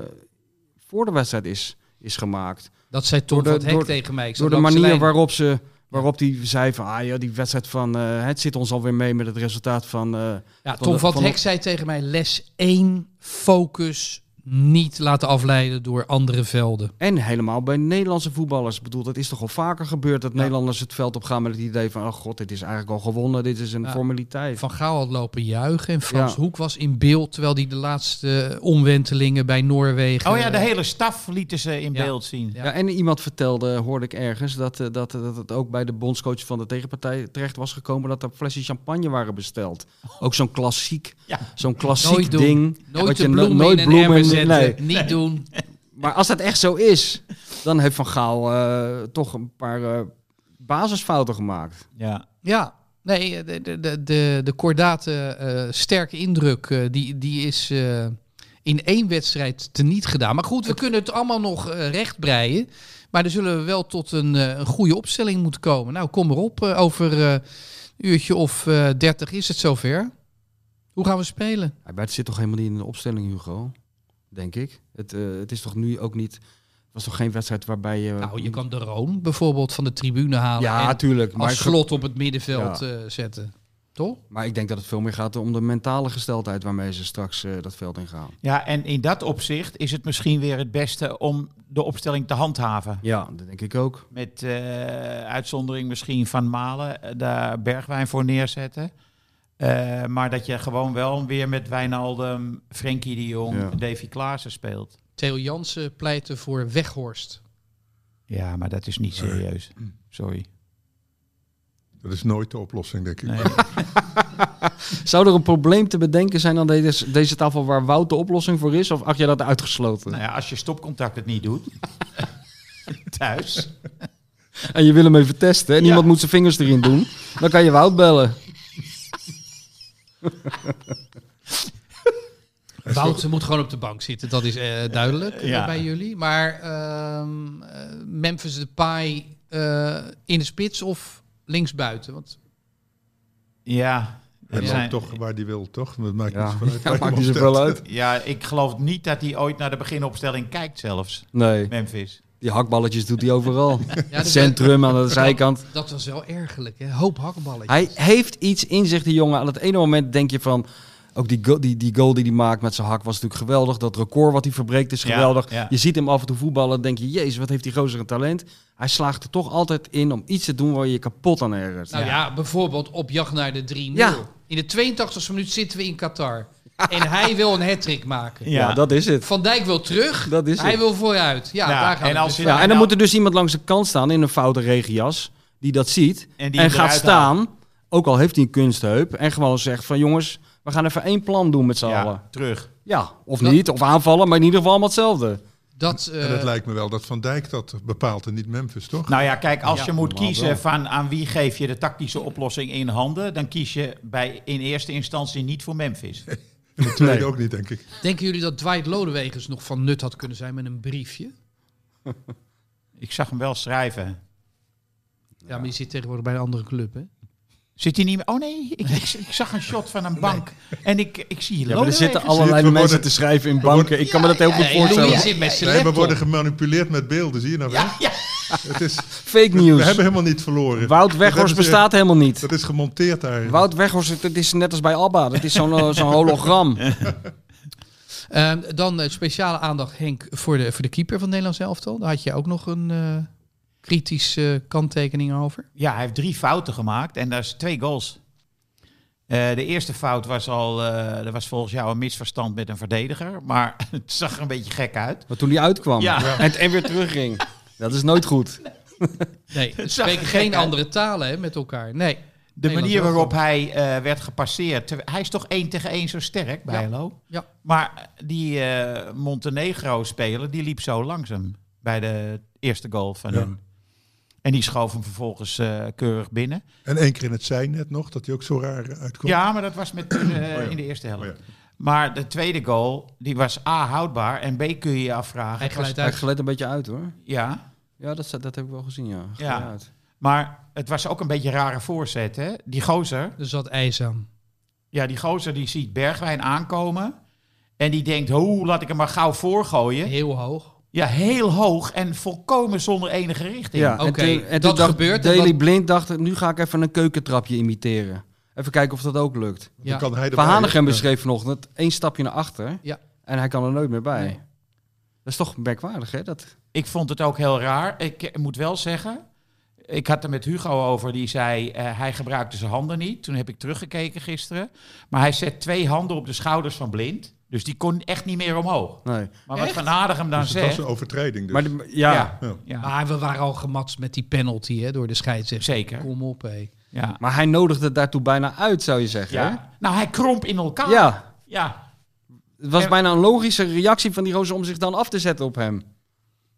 Speaker 2: voor de wedstrijd is, is gemaakt?
Speaker 1: Dat zei Tom
Speaker 2: Door de-
Speaker 1: van het Hek
Speaker 2: door-
Speaker 1: tegen mij. Ik zat
Speaker 2: Door de
Speaker 1: langs
Speaker 2: manier
Speaker 1: lijn.
Speaker 2: waarop ze waarop die zei van ah ja, die wedstrijd van eh, het zit ons alweer mee met het resultaat van. eh,
Speaker 1: Ja,
Speaker 2: van
Speaker 1: Tom
Speaker 2: de-
Speaker 1: van het
Speaker 2: van
Speaker 1: Hek zei tegen mij, les 1, focus, niet laten afleiden door andere velden.
Speaker 2: en helemaal bij Nederlandse voetballers. Ik bedoel, dat is toch al vaker gebeurd dat Nederlanders het veld op gaan met het idee van oh god, dit is eigenlijk al gewonnen, dit is een
Speaker 1: Ja.
Speaker 2: formaliteit.
Speaker 1: Van Gaal had lopen juichen en Frans
Speaker 2: Ja.
Speaker 1: Hoek was in beeld... terwijl hij de laatste eh, omwentelingen bij Noorwegen...
Speaker 4: Oh ja, de hele staf lieten ze in
Speaker 1: Ja.
Speaker 4: beeld zien.
Speaker 1: Ja.
Speaker 2: Ja. en iemand vertelde, hoorde ik ergens, dat, eh, dat, dat het ook bij de bondscoach van de tegenpartij terecht was gekomen dat er flesjes champagne waren besteld. Ook zo'n klassiek,
Speaker 4: Ja.
Speaker 2: zo'n klassiek
Speaker 1: Nooit doen.
Speaker 2: ding.
Speaker 1: Nooit
Speaker 2: wat
Speaker 1: de
Speaker 2: no-
Speaker 1: bloemen
Speaker 2: nooit
Speaker 1: in
Speaker 2: bloemen
Speaker 1: een emmer
Speaker 2: in-
Speaker 1: zetten,
Speaker 2: nee.
Speaker 1: niet doen.
Speaker 2: Maar als dat echt zo is, dan heeft Van Gaal eh, toch een paar eh, basisfouten gemaakt.
Speaker 4: Ja.
Speaker 1: Ja, nee, de, de, de, de, de kordate eh, sterke indruk, eh, die, die is eh, in één wedstrijd teniet gedaan. Maar goed, we kunnen het allemaal nog eh, recht rechtbreien. Maar dan zullen we wel tot een, eh, een goede opstelling moeten komen. Nou, kom erop. eh, over eh, een uurtje of eh, dertig is het zover. Hoe gaan we spelen?
Speaker 2: Ja, Maar het zit toch helemaal niet in de opstelling, Hugo? Denk ik. Het, eh, het is toch nu ook niet... Het was toch geen wedstrijd waarbij je...
Speaker 1: Nou, je kan de Roon bijvoorbeeld van de tribune halen
Speaker 2: Ja,
Speaker 1: en
Speaker 2: tuurlijk. Maar,
Speaker 1: als
Speaker 2: ik-
Speaker 1: slot op het middenveld
Speaker 2: Ja.
Speaker 1: eh, zetten. Toch?
Speaker 2: maar ik denk dat het veel meer gaat om de mentale gesteldheid... waarmee ze straks eh, dat veld in gaan.
Speaker 4: ja, en in dat opzicht is het misschien weer het beste om de opstelling te handhaven.
Speaker 2: Ja, dat denk ik ook.
Speaker 4: Met eh, uitzondering misschien van Malen, eh, daar Bergwijn voor neerzetten. Eh, maar dat je gewoon wel weer met Wijnaldum, Frenkie de Jong,
Speaker 2: Ja.
Speaker 4: Davy Klaassen speelt.
Speaker 1: Theo Jansen pleitte voor Weghorst.
Speaker 4: Ja, maar dat is niet serieus. Sorry.
Speaker 5: Dat is nooit de oplossing, denk ik.
Speaker 4: Nee.
Speaker 2: Zou er een probleem te bedenken zijn aan deze, deze tafel... waar Wout de oplossing voor is? Of acht je dat uitgesloten?
Speaker 4: nou ja, als je stopcontact het niet doet, thuis.
Speaker 2: En je wil hem even testen en
Speaker 4: Ja.
Speaker 2: iemand moet zijn vingers erin doen. Dan kan je Wout bellen.
Speaker 1: Wouter moet gewoon op de bank zitten, dat is eh, duidelijk eh,
Speaker 4: Ja.
Speaker 1: bij jullie. Maar ehm, eh, Memphis de Pai in de spits of linksbuiten? Want
Speaker 4: Ja.
Speaker 5: Hij
Speaker 4: er
Speaker 5: loopt
Speaker 4: zijn-
Speaker 5: toch waar die wil, toch? Dat maakt
Speaker 2: Ja,
Speaker 5: niet zoveel uit.
Speaker 2: dat
Speaker 5: Waar
Speaker 2: maakt
Speaker 5: je
Speaker 2: niet
Speaker 5: hem
Speaker 2: zoveel
Speaker 5: opstelt.
Speaker 2: uit.
Speaker 4: Ja, ik geloof niet dat hij ooit naar de beginopstelling kijkt zelfs,
Speaker 2: Nee,
Speaker 4: Memphis.
Speaker 2: die hakballetjes doet hij overal.
Speaker 1: ja, dat-
Speaker 2: Centrum aan de zijkant.
Speaker 1: Dat, was wel ergerlijk, hè? hoop hakballen.
Speaker 2: Hij heeft iets in zich, die jongen. Aan het ene moment denk je van... Ook die, go- die, die goal die hij maakt met zijn hak was natuurlijk geweldig. Dat record wat hij verbreekt is
Speaker 4: Ja,
Speaker 2: geweldig.
Speaker 4: ja.
Speaker 2: Je ziet hem af en toe voetballen en denk je... Jezus, wat heeft die gozer een talent. Hij slaagt er toch altijd in om iets te doen waar je je kapot aan ergert.
Speaker 1: Nou ja. bijvoorbeeld op jacht naar de 3-0.
Speaker 2: Ja.
Speaker 1: In de 82e minuut zitten we in Qatar. en hij wil een hat maken.
Speaker 2: ja. dat is het.
Speaker 1: Van Dijk wil terug,
Speaker 2: Dat is
Speaker 1: hij
Speaker 2: het.
Speaker 1: wil vooruit. Ja,
Speaker 4: Ja,
Speaker 1: daar gaan
Speaker 4: en
Speaker 1: we
Speaker 4: als
Speaker 1: dus
Speaker 4: je-
Speaker 1: van.
Speaker 2: Ja, en dan
Speaker 4: nou-
Speaker 2: moet er dus iemand langs de kant staan in een foute regenjas... die dat ziet
Speaker 4: En,
Speaker 2: en
Speaker 4: hem
Speaker 2: gaat
Speaker 4: eruit haalt.
Speaker 2: staan, ook al heeft hij een kunstheup, en gewoon zegt van jongens, we gaan even één plan doen met z'n allen.
Speaker 4: Ja, terug.
Speaker 2: Ja, of
Speaker 1: Dat-
Speaker 2: niet, of aanvallen, maar in ieder geval allemaal hetzelfde.
Speaker 1: Dat, eh,
Speaker 5: En het lijkt me wel dat Van Dijk dat bepaalt en niet Memphis, toch?
Speaker 4: Nou ja, kijk, als
Speaker 1: Ja,
Speaker 4: je moet
Speaker 2: normaal
Speaker 4: kiezen
Speaker 2: wel.
Speaker 4: van aan wie geef je de tactische oplossing in handen, dan kies je bij, in eerste instantie niet voor Memphis.
Speaker 5: En de tweede
Speaker 2: Nee.
Speaker 5: ook niet, denk ik.
Speaker 1: Denken jullie dat Dwight Lodewegens nog van nut had kunnen zijn met een briefje?
Speaker 4: Ik zag hem wel schrijven.
Speaker 1: Ja, maar die zit tegenwoordig bij een andere club, hè?
Speaker 4: Zit hij niet meer? Oh nee, ik, ik, ik zag een shot van een bank. En ik, ik zie hier
Speaker 2: Ja, maar er
Speaker 4: Lodewijk
Speaker 2: zitten
Speaker 4: zitten.
Speaker 2: allerlei
Speaker 5: worden-
Speaker 2: mensen te schrijven in banken. Ik kan me dat heel goed
Speaker 1: Ja,
Speaker 2: voorstellen.
Speaker 1: Louis zit met zijn
Speaker 5: Nee, we
Speaker 1: laptop.
Speaker 5: worden gemanipuleerd met beelden, zie je nou wel?
Speaker 4: Ja, ja.
Speaker 5: Het is,
Speaker 2: Fake
Speaker 5: we
Speaker 2: news.
Speaker 5: hebben helemaal niet verloren.
Speaker 2: Wout
Speaker 5: Dat hebben
Speaker 2: Weghorst
Speaker 5: ze-
Speaker 2: bestaat helemaal niet.
Speaker 5: Dat is gemonteerd daar.
Speaker 2: Wout Weghorst, dat is net als bij ABBA. Dat is zo'n eh, zo'n hologram.
Speaker 1: Ehm, dan eh, speciale aandacht, Henk, voor de, voor de keeper van het Nederlands elftal. Daar had je ook nog een eh, kritische kanttekening over.
Speaker 4: ja, hij heeft drie fouten gemaakt en dat is twee goals. Eh, de eerste fout was al, eh dat was volgens jou een misverstand met een verdediger. Maar het zag er een beetje gek uit.
Speaker 2: Maar toen die uitkwam
Speaker 4: Ja.
Speaker 2: en, en weer terugging. Dat is nooit goed.
Speaker 1: Nee, we
Speaker 4: zag
Speaker 1: spreken
Speaker 4: er gek
Speaker 1: geen
Speaker 4: uit.
Speaker 1: andere talen hè, met elkaar. Nee.
Speaker 4: De
Speaker 1: Nederlands
Speaker 4: manier
Speaker 1: elftal.
Speaker 4: waarop hij eh, werd gepasseerd. terwijl- Hij is toch één tegen één zo sterk, Bijlo?
Speaker 1: Ja.
Speaker 4: Maar die eh, Montenegro-speler, die liep zo langzaam bij de eerste goal van
Speaker 5: Ja.
Speaker 4: hem. En die schoof hem vervolgens eh, keurig binnen.
Speaker 5: En één keer in het zijn net nog, dat hij ook zo raar eh, uitkomt.
Speaker 4: Ja, maar dat was met, eh, in de eerste helft.
Speaker 5: Oh ja.
Speaker 4: Maar de tweede goal, die was A, houdbaar. En B, kun je je afvragen.
Speaker 1: Hij
Speaker 4: het was-
Speaker 1: glijdt
Speaker 2: Hij
Speaker 1: uit.
Speaker 2: glijdt een beetje uit hoor.
Speaker 4: Ja,
Speaker 2: Ja, dat, dat heb ik wel gezien, ja.
Speaker 4: Ja.
Speaker 2: Glijdt uit.
Speaker 4: maar het was ook een beetje een rare voorzet, hè? Die gozer,
Speaker 1: Er zat ijs aan.
Speaker 4: Ja, die gozer die ziet Bergwijn aankomen. En die denkt, hoe laat ik hem maar gauw voorgooien.
Speaker 1: Heel hoog.
Speaker 4: Ja, heel hoog en volkomen zonder enige richting.
Speaker 2: Ja,
Speaker 1: Oké,
Speaker 2: en toen, en
Speaker 1: dat
Speaker 2: toen dacht
Speaker 1: gebeurt en
Speaker 2: Daily
Speaker 1: dat-
Speaker 2: Blind dacht, nu ga ik even een keukentrapje imiteren. Even kijken of dat ook lukt.
Speaker 5: Dan
Speaker 1: Ja.
Speaker 5: kan hij
Speaker 2: Van
Speaker 5: erbij,
Speaker 2: Hanegem
Speaker 5: hè?
Speaker 2: beschreef vanochtend één stapje naar achter.
Speaker 1: Ja.
Speaker 2: En hij kan er nooit meer bij.
Speaker 1: Nee.
Speaker 2: Dat is toch merkwaardig, hè? Dat,
Speaker 4: Ik vond het ook heel raar. Ik moet wel zeggen, ik had er met Hugo over. Die zei, eh, hij gebruikte zijn handen niet. Toen heb ik teruggekeken gisteren. Maar hij zet twee handen op de schouders van Blind. Dus die kon echt niet meer omhoog.
Speaker 2: nee.
Speaker 4: Maar wat Van Aardegem dan
Speaker 5: Dus het was
Speaker 4: zegt...
Speaker 5: een overtreding. Dus.
Speaker 2: Maar de- ja,
Speaker 4: ja,
Speaker 5: Ja.
Speaker 4: ja,
Speaker 1: Maar we waren al gematst met die penalty hè, door de scheidsrechter.
Speaker 4: zeker.
Speaker 1: Kom op, hé.
Speaker 4: Ja.
Speaker 2: maar hij nodigde daartoe bijna uit, zou je zeggen.
Speaker 4: Ja. Nou, hij kromp in
Speaker 2: Hè?
Speaker 4: elkaar.
Speaker 2: ja.
Speaker 4: ja.
Speaker 2: Het was
Speaker 4: En-
Speaker 2: bijna een logische reactie van die roze om zich dan af te zetten op hem.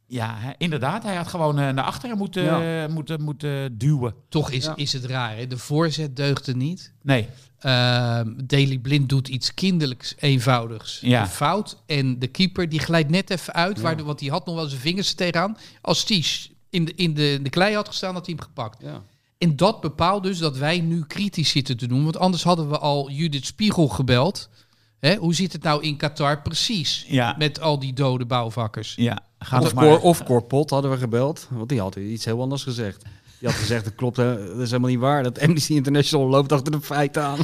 Speaker 4: Ja, hij- inderdaad. Hij had gewoon eh, naar achteren moeten,
Speaker 2: Ja.
Speaker 4: eh, moeten, moeten duwen.
Speaker 1: Toch is,
Speaker 2: Ja.
Speaker 1: is het raar, hè? De voorzet deugde niet.
Speaker 4: Nee,
Speaker 1: Ehm Daily Blind doet iets kinderlijks eenvoudigs
Speaker 4: Ja.
Speaker 1: een fout. En de keeper die glijdt net even uit, waardoor, want die had nog wel zijn vingers er tegenaan. Als die s- in de, in, de, in de klei had gestaan, had hij hem gepakt.
Speaker 2: Ja.
Speaker 1: En dat bepaalt dus dat wij nu kritisch zitten te doen. Want anders hadden we al Judith Spiegel gebeld. Hè, hoe zit het nou in Qatar precies?
Speaker 4: Ja.
Speaker 1: Met al die dode bouwvakkers.
Speaker 4: ja. Ga
Speaker 2: Of,
Speaker 4: nog maar.
Speaker 2: Cor, of Cor Pot hadden we gebeld, want die had iets heel anders gezegd. Die had gezegd, dat klopt, hè, dat is helemaal niet waar. Dat Amnesty International loopt achter de feiten aan.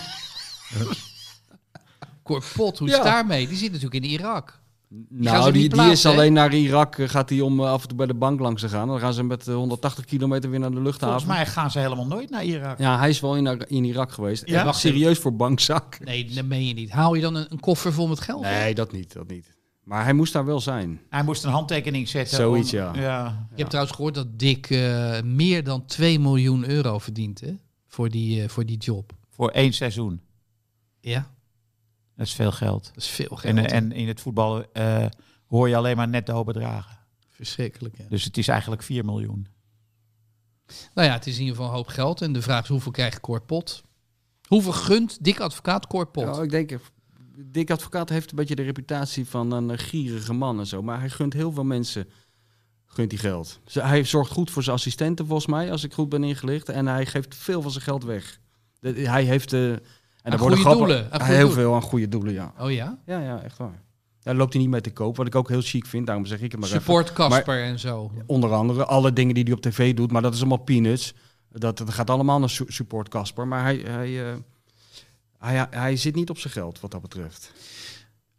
Speaker 1: Korpot, hoe
Speaker 2: Ja.
Speaker 1: is daarmee? Die zit natuurlijk in Irak. gaan
Speaker 2: Nou,
Speaker 1: ze
Speaker 2: die,
Speaker 1: niet
Speaker 2: die is
Speaker 1: plaatsen, hè?
Speaker 2: alleen naar Irak, eh, gaat hij om eh, af en toe bij de bank langs te gaan. Dan gaan ze met eh, 180 kilometer weer naar de
Speaker 4: Volgens
Speaker 2: luchthaven.
Speaker 4: mij gaan ze helemaal nooit naar Irak.
Speaker 2: Ja, hij is wel in, Ar- in Irak geweest.
Speaker 4: Ja?
Speaker 2: Ja? Wacht serieus voor bankzak.
Speaker 1: Nee, dat meen je niet. Haal je dan een, een koffer vol met geld?
Speaker 2: Nee, dat niet, dat niet. Maar hij moest daar wel zijn.
Speaker 4: Hij moest een handtekening zetten.
Speaker 2: Zoiets,
Speaker 4: om-
Speaker 2: ja.
Speaker 1: Ik heb trouwens gehoord dat Dick eh, meer dan 2 miljoen euro verdient hè? Voor, die, eh, voor die job.
Speaker 4: Voor één seizoen.
Speaker 1: Ja,
Speaker 4: Dat is veel geld.
Speaker 1: dat is veel geld.
Speaker 4: En, eh, en in het voetbal eh, hoor je alleen maar netto bedragen.
Speaker 1: Verschrikkelijk. Ja.
Speaker 4: Dus het is eigenlijk 4 miljoen.
Speaker 1: Nou ja, het is in ieder geval een hoop geld. En de vraag is hoeveel krijgt Corpot? Hoeveel gunt Dick Advocaat Corpot?
Speaker 2: Ja, ik denk, eh, Dick Advocaat heeft een beetje de reputatie van een eh, gierige man en zo. Maar hij gunt heel veel mensen gunt hij geld. Ze- Hij zorgt goed voor zijn assistenten, volgens mij, als ik goed ben ingelicht. En hij geeft veel van zijn geld weg. Dat- hij heeft... eh en
Speaker 1: Aan
Speaker 2: er worden
Speaker 1: goede
Speaker 2: grappen-
Speaker 1: doelen, aan goede
Speaker 2: Heel
Speaker 1: doelen.
Speaker 2: veel aan goede doelen, ja.
Speaker 1: Oh ja?
Speaker 2: Ja, ja, echt waar. Daar loopt hij niet mee te koop, wat ik ook heel chic vind. Daarom zeg ik het maar even.
Speaker 1: Support Casper en zo.
Speaker 2: Onder andere alle dingen die hij op tv doet, maar dat is allemaal peanuts. Dat, dat gaat allemaal naar su- support Casper, maar hij, hij, eh, hij, hij zit niet op zijn geld wat dat betreft.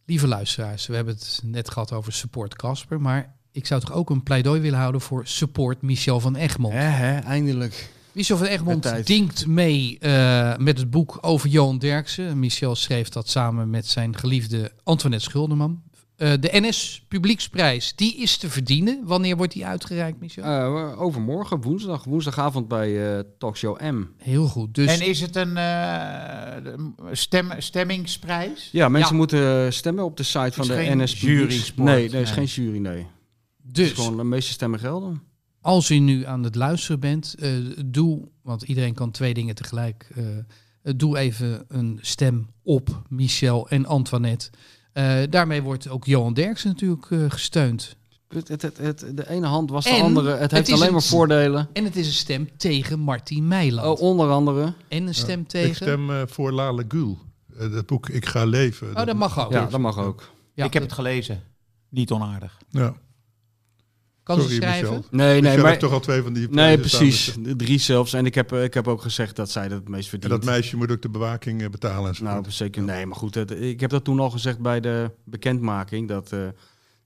Speaker 1: Lieve luisteraars, we hebben het net gehad over support Casper. Maar ik zou toch ook een pleidooi willen houden voor support Michel van Egmond.
Speaker 2: Hè, hè, eindelijk.
Speaker 1: Michel van
Speaker 2: Met tijd.
Speaker 1: Egmond dinkt mee eh, met het boek over Johan Derksen. Michel schreef dat samen met zijn geliefde Antoinette Schulderman. Eh, de NS Publieksprijs, die is te verdienen. Wanneer wordt die uitgereikt, Michel?
Speaker 2: Eh, overmorgen, woensdag, woensdagavond bij eh Talkshow M.
Speaker 1: Heel goed. Dus
Speaker 4: En is het een eh, de- stem, stemmingsprijs?
Speaker 2: Ja, mensen
Speaker 1: Ja.
Speaker 2: moeten eh, stemmen op de site van de
Speaker 4: geen
Speaker 2: NS.
Speaker 4: jury-sport.
Speaker 2: Nee, nee, is
Speaker 4: Nee.
Speaker 2: geen jury, nee.
Speaker 1: dus
Speaker 2: Het is gewoon de meeste stemmen gelden.
Speaker 1: als u nu aan het luisteren bent, eh, doe, want iedereen kan twee dingen tegelijk. eh, eh, doe even een stem op Michel en Antoinette. Eh, daarmee wordt ook Johan Derksen natuurlijk eh, gesteund.
Speaker 2: Het, het, het, het- de ene hand was de
Speaker 1: En
Speaker 2: andere. Het
Speaker 1: het
Speaker 2: heeft
Speaker 1: is
Speaker 2: alleen
Speaker 1: een-
Speaker 2: maar voordelen.
Speaker 1: En het is een stem tegen Martin Meiland.
Speaker 2: Oh, onder andere.
Speaker 1: en een stem
Speaker 5: Ik
Speaker 1: tegen...
Speaker 5: stem eh, voor Lale Gül. Eh, dat boek Ik ga leven.
Speaker 1: oh, dat mag ook.
Speaker 2: Ja, dat mag ook.
Speaker 1: Ja,
Speaker 4: ik heb het
Speaker 1: dat-
Speaker 4: gelezen. Niet onaardig.
Speaker 5: Ja.
Speaker 1: Kan ze
Speaker 5: Sorry,
Speaker 1: schrijven?
Speaker 5: Michel.
Speaker 2: Nee, nee,
Speaker 5: Michel heeft
Speaker 2: maar,
Speaker 5: toch al twee van die
Speaker 2: nee
Speaker 5: prijzen staan
Speaker 2: precies.
Speaker 5: met-
Speaker 2: De Drie zelfs. En ik heb, eh, ik heb ook gezegd dat zij dat het meest
Speaker 5: En
Speaker 2: verdient.
Speaker 5: dat meisje moet ook de bewaking eh, betalen. En zo.
Speaker 2: Nou, zeker. Nee, maar goed, het- ik heb dat toen al gezegd bij de bekendmaking. Dat, eh,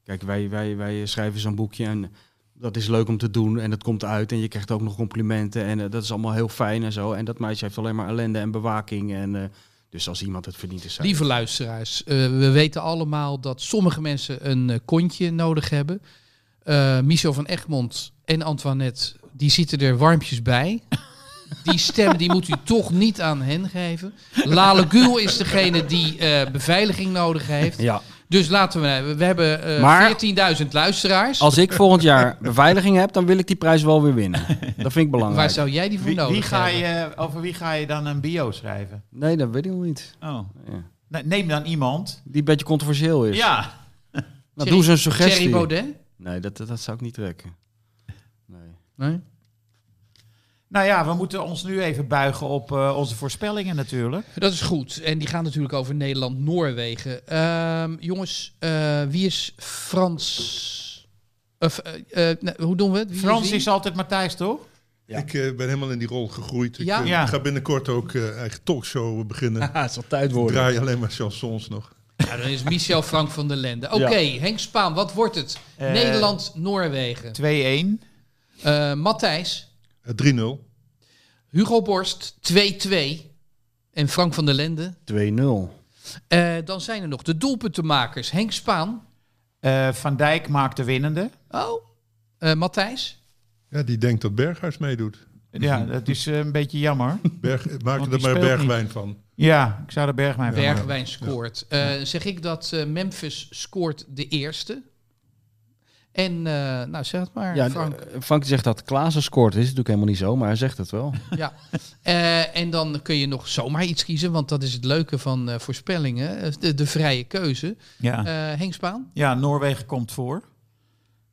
Speaker 2: kijk, wij, wij, wij schrijven zo'n boekje en dat is leuk om te doen. En dat komt uit en je krijgt ook nog complimenten. En eh, dat is allemaal heel fijn en zo. En dat meisje heeft alleen maar ellende en bewaking. En, eh, dus als iemand het verdient, is zij.
Speaker 1: Lieve luisteraars, eh, we weten allemaal dat sommige mensen een eh, kontje nodig hebben. Eh, Michel van Egmond en Antoinette, die zitten er warmpjes bij. Die stem die moet u toch niet aan hen geven. Lale Gül is degene die eh, beveiliging nodig heeft.
Speaker 2: Ja,
Speaker 1: Dus laten we, we hebben eh,
Speaker 2: Maar-
Speaker 1: 14.000 luisteraars.
Speaker 2: als ik volgend jaar beveiliging heb, dan wil ik die prijs wel weer winnen. Dat vind ik
Speaker 1: Waar
Speaker 2: belangrijk.
Speaker 1: zou jij die voor
Speaker 4: Wie,
Speaker 1: nodig
Speaker 4: wie ga
Speaker 1: hebben?
Speaker 4: je, over wie ga je dan een bio schrijven?
Speaker 2: Nee, dat weet ik nog niet.
Speaker 4: Oh.
Speaker 2: Ja.
Speaker 4: Ne- Neem dan iemand.
Speaker 2: Die een beetje controversieel is.
Speaker 4: Ja.
Speaker 2: Nou, doe ze een
Speaker 1: Thierry
Speaker 2: suggestie.
Speaker 1: Baudet?
Speaker 2: Nee, dat, dat, dat zou ik niet trekken. Nee.
Speaker 1: Nee?
Speaker 4: Nou ja, we moeten ons nu even buigen op eh, onze voorspellingen natuurlijk.
Speaker 1: Dat is goed. En die gaan natuurlijk over Nederland-Noorwegen. Ehm, jongens, eh, wie is Frans? Of, eh, eh, nee, hoe doen we het? Wie
Speaker 4: Frans
Speaker 1: wie?
Speaker 4: is altijd Matthijs, toch?
Speaker 2: Ja.
Speaker 5: Ik eh, ben helemaal in die rol gegroeid. Ik
Speaker 1: Ja.
Speaker 5: eh,
Speaker 4: Ja.
Speaker 5: ga binnenkort ook eh, eigen talkshow beginnen.
Speaker 2: het zal tijd
Speaker 5: Ik draai alleen maar chansons nog.
Speaker 1: Ja, dan is Michel Frank van der Lende. Oké, Henk Spaan, wat wordt het?
Speaker 4: Eh,
Speaker 1: Nederland-Noorwegen.
Speaker 4: 2-1.
Speaker 1: Eh Matthijs,
Speaker 5: Eh, 3-0.
Speaker 1: Hugo Borst, 2-2. En Frank van der Lende.
Speaker 2: 2-0.
Speaker 1: Eh, dan zijn er nog de doelpuntenmakers. Henk Spaan.
Speaker 4: Eh, Van Dijk maakt de winnende.
Speaker 1: Oh. Eh, Matthijs.
Speaker 5: Ja, die denkt dat Berghuis meedoet.
Speaker 2: Mhm.
Speaker 4: Ja, dat is eh, een beetje jammer.
Speaker 5: Berg,
Speaker 4: die
Speaker 5: maak er maar
Speaker 4: speelt
Speaker 5: bergwijn van.
Speaker 4: Ja, ik zou de Bergwijn van maken.
Speaker 1: Bergwijn scoort. Eh, zeg ik dat eh, Memphis scoort de eerste. En, eh, nou zeg het maar,
Speaker 2: Ja,
Speaker 4: eh,
Speaker 1: Frank.
Speaker 2: Frank. Frank zegt dat Klaassen scoort. Dat is natuurlijk helemaal niet zo, maar hij zegt het wel.
Speaker 1: ja. Eh, en dan kun je nog zomaar iets kiezen, want dat is het leuke van eh, voorspellingen. eh, De, de vrije keuze.
Speaker 4: Ja.
Speaker 1: Eh Henk Spaan,
Speaker 4: ja, Noorwegen komt voor.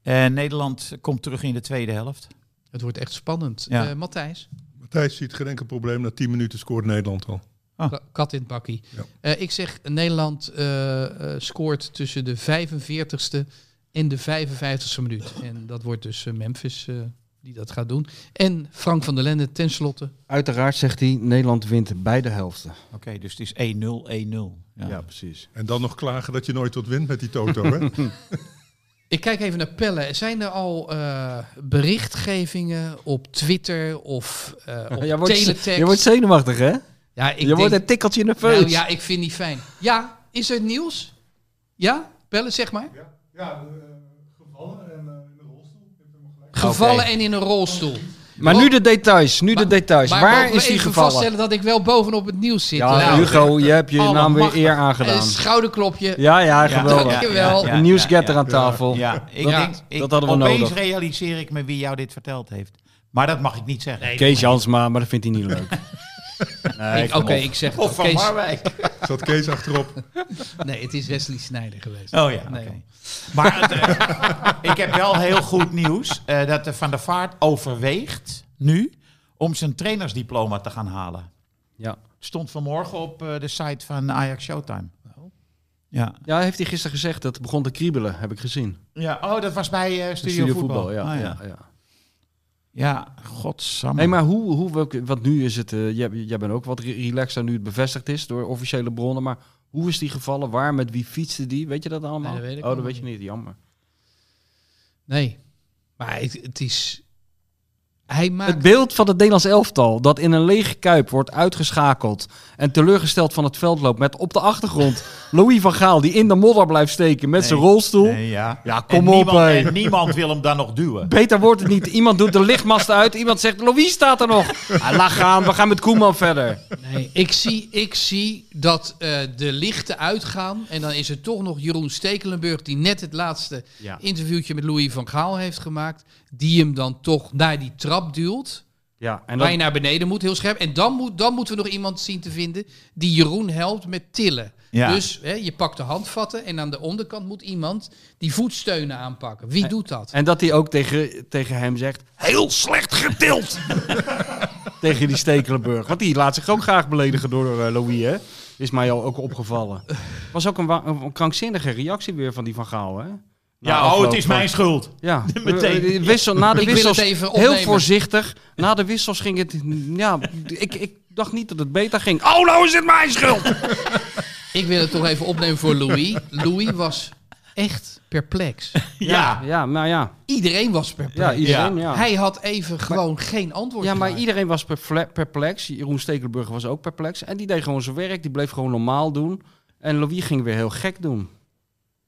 Speaker 4: En Nederland komt terug in de tweede helft.
Speaker 1: het wordt echt spannend.
Speaker 4: Ja.
Speaker 1: Eh, Matthijs,
Speaker 5: Matthijs ziet geen enkel probleem. Na 10 minuten scoort Nederland al.
Speaker 4: Ah.
Speaker 1: ka- kat in het bakkie.
Speaker 5: Ja.
Speaker 1: Eh, ik zeg, Nederland eh, eh, scoort tussen de 45ste en de 55ste minuut. En dat wordt dus eh, Memphis eh, die dat gaat doen. En Frank van der Lende tenslotte.
Speaker 2: Uiteraard zegt hij, Nederland wint beide helften.
Speaker 4: Oké, dus het is 1-0, 1-0. Ja.
Speaker 2: precies.
Speaker 5: En dan nog klagen dat je nooit wat wint met die toto. Hè?
Speaker 1: Ik kijk even naar Pelle. Zijn er al eh, berichtgevingen op Twitter of eh, op
Speaker 2: Je wordt,
Speaker 1: teletext?
Speaker 2: je wordt zenuwachtig, hè?
Speaker 1: ja, ik
Speaker 2: je
Speaker 1: denk-
Speaker 2: wordt een tikkeltje nerveus.
Speaker 1: nou, ja, ik vind die fijn. Ja, is er nieuws? Ja, Pelle, zeg maar.
Speaker 6: Ja, de, eh, gevallen en eh, in de rolstoel. Ik heb helemaal gelijk.
Speaker 1: Gevallen en in een rolstoel.
Speaker 2: maar nu de details, nu
Speaker 1: Maar-
Speaker 2: de details.
Speaker 1: Maar
Speaker 2: Waar
Speaker 1: mogen we
Speaker 2: is die
Speaker 1: even
Speaker 2: gevallen?
Speaker 1: vaststellen dat ik wel bovenop het nieuws zit.
Speaker 2: Ja,
Speaker 1: Nou,
Speaker 2: Hugo, je hebt je
Speaker 1: allemaal
Speaker 2: naam weer
Speaker 1: mag-
Speaker 2: eer
Speaker 1: Een
Speaker 2: aangedaan.
Speaker 1: Schouderklopje.
Speaker 2: Ja, ja,
Speaker 4: Ja,
Speaker 2: geweldig.
Speaker 1: ja, Dankjewel.
Speaker 2: Een nieuwsgetter aan tafel.
Speaker 4: Ja, ik
Speaker 1: Ja,
Speaker 4: denk, ik,
Speaker 2: dat hadden we
Speaker 4: opeens
Speaker 2: nodig.
Speaker 4: realiseer ik me wie jou dit verteld heeft. Maar dat mag ik niet zeggen.
Speaker 2: Kees Jansma, maar dat vindt hij niet leuk. Nee,
Speaker 1: Ik- Oké,
Speaker 2: kom op.
Speaker 1: ik zeg
Speaker 4: Of
Speaker 1: het.
Speaker 4: van
Speaker 1: Kees-
Speaker 4: Marwijk.
Speaker 5: Zat Kees achterop.
Speaker 1: Nee, het is Wesley Snijder geweest.
Speaker 4: Oh ja,
Speaker 1: Nee,
Speaker 4: oké. Maar het, eh, ik heb wel heel goed nieuws eh, dat de Van der Vaart overweegt nu om zijn trainersdiploma te gaan halen.
Speaker 2: Ja.
Speaker 4: Stond vanmorgen op eh, de site van Ajax Showtime. Ja.
Speaker 2: ja, heeft hij gisteren gezegd dat het begon te kriebelen, heb ik gezien.
Speaker 4: ja, oh, dat was bij eh, Studio, Voetbal.
Speaker 2: ja.
Speaker 4: Ah,
Speaker 2: ja,
Speaker 4: ja.
Speaker 2: ja.
Speaker 4: ja, godsamme.
Speaker 2: Hé, maar hoe, hoe, welke- want nu is het, eh, jij, jij bent ook wat re- relaxer nu het bevestigd is door officiële bronnen, maar hoe is die gevallen? Waar, met wie fietste die? Weet je dat allemaal?
Speaker 1: Nee, dat weet ik
Speaker 2: oh, dat
Speaker 1: allemaal
Speaker 2: weet je niet, jammer.
Speaker 1: nee. maar het, het is... Hij maakt...
Speaker 2: Het beeld van het Nederlands elftal dat in een lege kuip wordt uitgeschakeld en teleurgesteld van het veld loopt met op de achtergrond Louis van Gaal die in de modder blijft steken met zijn
Speaker 4: Nee,
Speaker 2: rolstoel.
Speaker 4: Nee, ja.
Speaker 2: Ja,
Speaker 4: en,
Speaker 2: kom op.
Speaker 4: niemand,
Speaker 2: hé.
Speaker 4: en niemand wil hem dan nog duwen.
Speaker 2: Beter wordt het niet. Iemand doet de lichtmast uit. Iemand zegt, Louis staat er nog. Ah, laat gaan, we gaan met Koeman verder.
Speaker 1: Nee, ik zie, ik zie dat eh, de lichten uitgaan. En dan is er toch nog Jeroen Stekelenburg, die net het laatste
Speaker 2: Ja.
Speaker 1: interviewtje met Louis van Gaal heeft gemaakt. Die hem dan toch naar die trap duwt.
Speaker 2: Ja, en
Speaker 1: Waar je
Speaker 2: dat-
Speaker 1: naar beneden moet, heel scherp. En dan, moet, dan moeten we nog iemand zien te vinden die Jeroen helpt met tillen.
Speaker 4: Ja.
Speaker 1: Dus hè, je pakt de handvatten en aan de onderkant moet iemand die voetsteunen aanpakken. Wie doet dat?
Speaker 2: en dat hij ook tegen, tegen hem zegt, heel slecht getild! tegen die Stekelenburg. Want die laat zich ook graag beledigen door eh, Louis, hè? Is mij al ook opgevallen. Was ook een, wa- een krankzinnige reactie weer van die Van Gaal, hè? Na
Speaker 4: Ja, oh,
Speaker 2: afloop
Speaker 4: het is
Speaker 2: van-
Speaker 4: mijn schuld.
Speaker 2: Ja,
Speaker 4: Meteen.
Speaker 2: Eh, eh, Wissel, na de
Speaker 1: Ik wil
Speaker 2: wissels,
Speaker 1: het even
Speaker 2: heel
Speaker 1: opnemen.
Speaker 2: voorzichtig. Na de wissels ging het... Ja, ik, ik dacht niet dat het beter ging. Oh, nou is het mijn schuld!
Speaker 1: Ik wil het toch even opnemen voor Louis. Louis was echt perplex.
Speaker 4: Ja.
Speaker 2: Ja, nou ja.
Speaker 1: Iedereen was perplex.
Speaker 2: Ja, iedereen, ja.
Speaker 1: Hij had even gewoon geen antwoord.
Speaker 2: Ja, maar
Speaker 1: klaar.
Speaker 2: iedereen was perple- perplex. Jeroen Stekelenburg was ook perplex. En die deed gewoon zijn werk. Die bleef gewoon normaal doen. En Louis ging weer heel gek doen.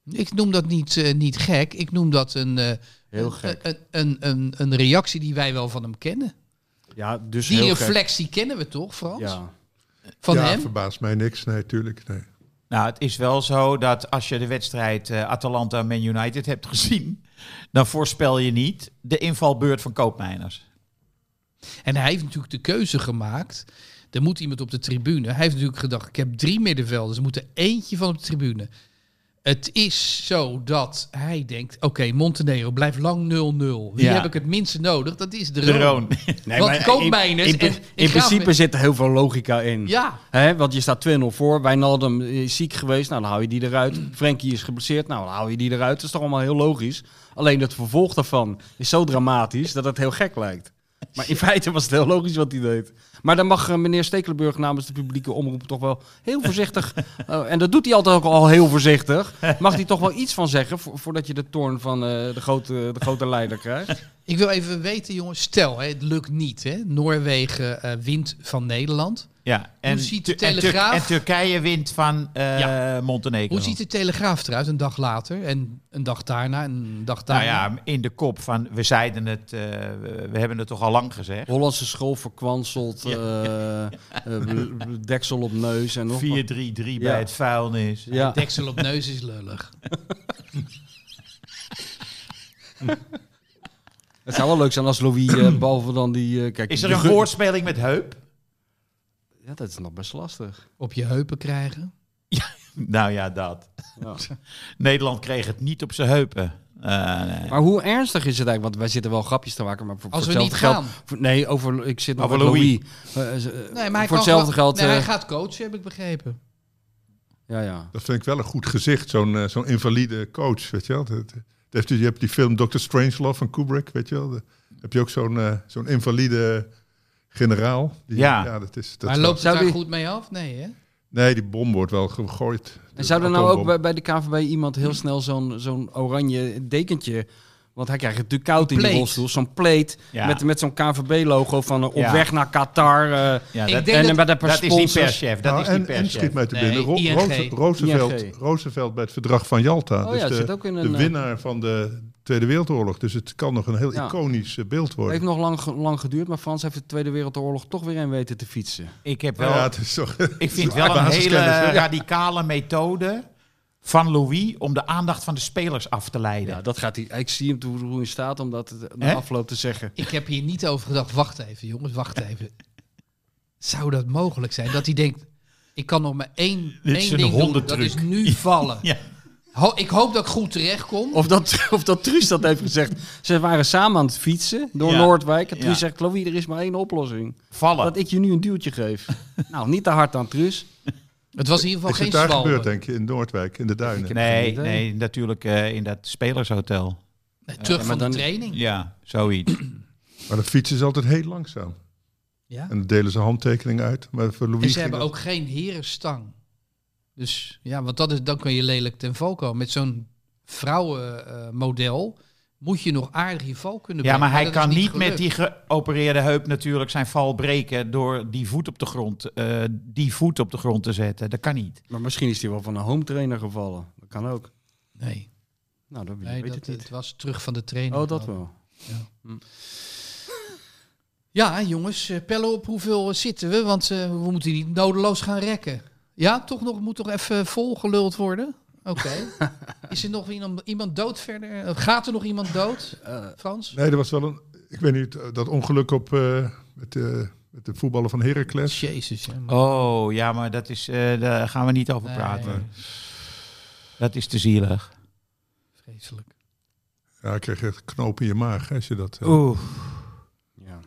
Speaker 1: Ik noem dat niet, eh, niet gek. Ik noem dat een, eh,
Speaker 2: Heel
Speaker 1: een-
Speaker 2: gek.
Speaker 1: Een, een, een, een reactie die wij wel van hem kennen.
Speaker 2: Ja, dus
Speaker 1: Die
Speaker 2: heel gek.
Speaker 1: reflex die kennen we toch, Frans?
Speaker 2: Ja.
Speaker 1: Van
Speaker 5: ja,
Speaker 1: hem?
Speaker 5: verbaast mij niks. Nee, tuurlijk. Nee.
Speaker 4: Nou, het is wel zo dat als je de wedstrijd eh, Atalanta-Man United hebt gezien... dan voorspel je niet de invalbeurt van Koopmeiners.
Speaker 1: Oh. En hij heeft natuurlijk de keuze gemaakt. Er moet iemand op de tribune. Hij heeft natuurlijk gedacht, ik heb drie middenvelders. Er moet er eentje van op de tribune. Het is zo dat hij denkt, oké, Montenegro blijft lang 0-0. Wie
Speaker 4: Ja.
Speaker 1: heb ik het minste nodig? Dat is de
Speaker 4: De
Speaker 1: Roon.
Speaker 4: Roon.
Speaker 2: Nee,
Speaker 1: Want
Speaker 2: maar
Speaker 1: Koopmeiners
Speaker 2: in, in,
Speaker 1: en-
Speaker 2: in
Speaker 1: en Graaf-
Speaker 2: principe zit er heel veel logica in.
Speaker 1: Ja,
Speaker 2: Hè, want je staat 2-0 voor. Wijnaldum is ziek geweest. Nou, dan hou je die eruit. Frenkie is geblesseerd. Nou, dan hou je die eruit. Dat is toch allemaal heel logisch. Alleen het vervolg daarvan is zo dramatisch dat het heel gek lijkt. Maar in feite was het heel logisch wat hij deed. Maar dan mag eh, meneer Stekelenburg namens de publieke omroep toch wel heel voorzichtig. eh, en dat doet hij altijd ook al heel voorzichtig. Mag hij toch wel iets van zeggen vo- voordat je de toorn van eh, de, grote, de grote leider krijgt?
Speaker 1: ik wil even weten, jongens. Stel, hè, het lukt niet. Hè. Noorwegen eh, wint van Nederland.
Speaker 4: Ja, en,
Speaker 1: ziet de
Speaker 4: Tur- en Tur-
Speaker 1: Telegraaf-
Speaker 4: en Turkije wint van eh, Montenegro.
Speaker 1: Hoe ziet de Telegraaf eruit een dag later? En een dag daarna en een dag
Speaker 4: Nou
Speaker 1: daarna?
Speaker 4: ja, in de kop van we zeiden het, eh, we we hebben het toch al lang gezegd. 4-3
Speaker 2: Hollandse school verkwanseld. eh, eh, bl- bl- deksel op neus. En nog wat. Ja.
Speaker 4: bij het vuilnis.
Speaker 2: Ja.
Speaker 1: Deksel op neus is lullig.
Speaker 2: Het zou wel leuk zijn als Louis, eh, behalve dan die... eh, kijk,
Speaker 4: Is er
Speaker 2: de
Speaker 4: een
Speaker 2: gun-
Speaker 4: woordspeling met heup?
Speaker 2: Ja, dat is nog best lastig.
Speaker 1: Op je heupen krijgen.
Speaker 4: Nou ja, dat.
Speaker 2: Ja.
Speaker 4: Nederland kreeg het niet op zijn heupen. Eh, nee.
Speaker 2: Maar hoe ernstig is het eigenlijk? Want wij zitten wel grapjes te maken, maar voor,
Speaker 1: Als
Speaker 2: voor
Speaker 1: we niet
Speaker 2: hetzelfde
Speaker 1: gaan.
Speaker 2: geld... voor- nee, over, ik zit nog
Speaker 4: Over
Speaker 2: met Louis.
Speaker 4: Louis.
Speaker 2: Eh, eh,
Speaker 1: Nee,
Speaker 2: eh,
Speaker 1: maar hij
Speaker 2: voor
Speaker 1: kan
Speaker 2: hetzelfde
Speaker 1: gewoon-
Speaker 2: geld...
Speaker 1: Nee,
Speaker 2: eh,
Speaker 1: hij gaat coachen, heb ik begrepen.
Speaker 2: ja, ja.
Speaker 5: Dat vind ik wel een goed gezicht, zo'n eh, zo'n invalide coach, weet je wel. Dat, dat heeft, u- je hebt die film Dr. Strangelove van Kubrick, weet je wel. Daar heb je ook zo'n eh, zo'n invalide generaal. Die,
Speaker 4: Ja.
Speaker 5: dat is, dat
Speaker 1: Maar
Speaker 5: is wel-
Speaker 1: loopt het
Speaker 2: Zou
Speaker 1: daar
Speaker 2: die-
Speaker 1: goed mee af? Nee, hè?
Speaker 5: Nee, die bom wordt wel gegooid.
Speaker 2: En zou er nou
Speaker 5: Atoombom.
Speaker 2: ook bij, bij de KVB iemand heel snel zo'n zo'n oranje dekentje... Want hij krijgt het natuurlijk koud in die
Speaker 1: Plaat.
Speaker 2: rolstoel. Zo'n plate
Speaker 4: Ja.
Speaker 2: met, met zo'n KVB-logo van eh, op
Speaker 4: Ja.
Speaker 2: weg naar Qatar. eh,
Speaker 4: ja,
Speaker 1: Ik
Speaker 4: dat,
Speaker 1: denk
Speaker 2: en
Speaker 1: dat-
Speaker 2: met een paar
Speaker 4: dat is niet
Speaker 2: sponsors.
Speaker 4: perschef. Dat
Speaker 5: Nou,
Speaker 4: is
Speaker 5: en,
Speaker 4: niet
Speaker 5: en schiet
Speaker 4: perschef.
Speaker 5: mij te
Speaker 1: Nee,
Speaker 5: binnen. Ro-
Speaker 1: ING.
Speaker 5: Roze- Roosevelt,
Speaker 2: ING.
Speaker 5: Roosevelt bij het verdrag van Jalta.
Speaker 2: Oh
Speaker 5: dus
Speaker 2: ja,
Speaker 5: de,
Speaker 2: zit ook in
Speaker 5: de
Speaker 2: een, eh,
Speaker 5: winnaar van de Tweede Wereldoorlog. Dus het kan nog een heel
Speaker 2: Ja.
Speaker 5: iconisch eh, beeld worden.
Speaker 2: Heeft nog lang, ge- lang geduurd, maar Frans heeft de Tweede Wereldoorlog toch weer in weten te fietsen.
Speaker 4: Ik, heb wel,
Speaker 5: Nou ja, het is toch...
Speaker 4: ik vind wel een
Speaker 5: basiskennis,
Speaker 4: hele
Speaker 5: hè?
Speaker 4: radicale methode van Louis om de aandacht van de spelers af te leiden.
Speaker 2: Ja, dat gaat hij. Ik zie hem toe hoe hij in staat om dat eh, na
Speaker 4: Hè?
Speaker 2: afloop te zeggen.
Speaker 1: Ik heb hier niet over gedacht. Wacht even, jongens, wacht even. Zou dat mogelijk zijn? Dat hij denkt, ik kan nog maar één,
Speaker 4: Dit is
Speaker 1: één
Speaker 4: een
Speaker 1: ding doen. Dat
Speaker 4: hondentruc.
Speaker 1: is nu vallen.
Speaker 4: Ja.
Speaker 1: Ho- ik hoop dat ik goed terechtkom.
Speaker 2: Of dat, of dat Truus dat heeft gezegd. Ze waren samen aan het fietsen door
Speaker 4: Ja.
Speaker 2: Noordwijk. En Truus
Speaker 4: Ja.
Speaker 2: zegt, Chloe, er is maar één oplossing.
Speaker 4: Vallen.
Speaker 2: Dat ik je nu een duwtje geef. nou, niet te hard aan Truus.
Speaker 1: Het was in ieder
Speaker 5: Is
Speaker 1: geval
Speaker 5: het
Speaker 1: geen
Speaker 5: daar
Speaker 1: zwalbe.
Speaker 5: gebeurd, denk je, in Noordwijk, in de duinen?
Speaker 4: Nee,
Speaker 2: idee.
Speaker 4: nee, natuurlijk eh, in dat spelershotel.
Speaker 1: Nee, terug
Speaker 2: Ja, maar
Speaker 1: van
Speaker 2: dan-
Speaker 1: de training.
Speaker 4: Ja, zoiets.
Speaker 5: Maar de fietsen is altijd heel langzaam.
Speaker 1: Ja.
Speaker 5: En dan delen ze handtekening uit. Maar voor Louis
Speaker 1: En ze
Speaker 5: ging
Speaker 1: hebben
Speaker 5: dat-
Speaker 1: ook geen herenstang. Dus ja, want dat is, dan kun je lelijk ten val komen. Met zo'n vrouwenmodel moet je nog aardig je val kunnen
Speaker 4: Ja,
Speaker 1: brengen.
Speaker 4: maar hij
Speaker 1: dat
Speaker 4: kan
Speaker 1: is
Speaker 4: niet met
Speaker 1: gelukt.
Speaker 4: die geopereerde heup natuurlijk zijn val breken door die voet op de grond, eh, die voet op de grond te zetten. Dat kan niet.
Speaker 2: Maar misschien is hij wel van een home trainer gevallen. Dat kan ook.
Speaker 1: Nee,
Speaker 2: Nou, dat
Speaker 1: nee
Speaker 2: weet
Speaker 1: dat,
Speaker 2: ik
Speaker 1: het
Speaker 2: niet.
Speaker 1: was terug van de training.
Speaker 2: Oh, dat wel.
Speaker 1: Ja, jongens, eh, pellen op hoeveel eh, zitten we, want eh, we moeten niet nodeloos gaan rekken. Ja, toch nog, moet toch even volgeluld worden? Oké. Is er nog iemand, iemand dood verder? Eh, Gaat er nog iemand dood, Frans?
Speaker 5: Nee, er was wel een... Ik weet niet, eh, dat ongeluk op eh, Met, eh, met de voetballer van Heracles.
Speaker 1: Jezus, ja. man.
Speaker 4: Oh, ja, maar dat is, eh, daar gaan we niet over
Speaker 1: Nee,
Speaker 4: praten.
Speaker 1: nee,
Speaker 4: Dat is te zielig.
Speaker 2: Oh.
Speaker 1: Vreselijk.
Speaker 5: Ja, ik kreeg echt knoop in je maag hè, als je dat... eh,
Speaker 4: Oeh.
Speaker 2: Ja.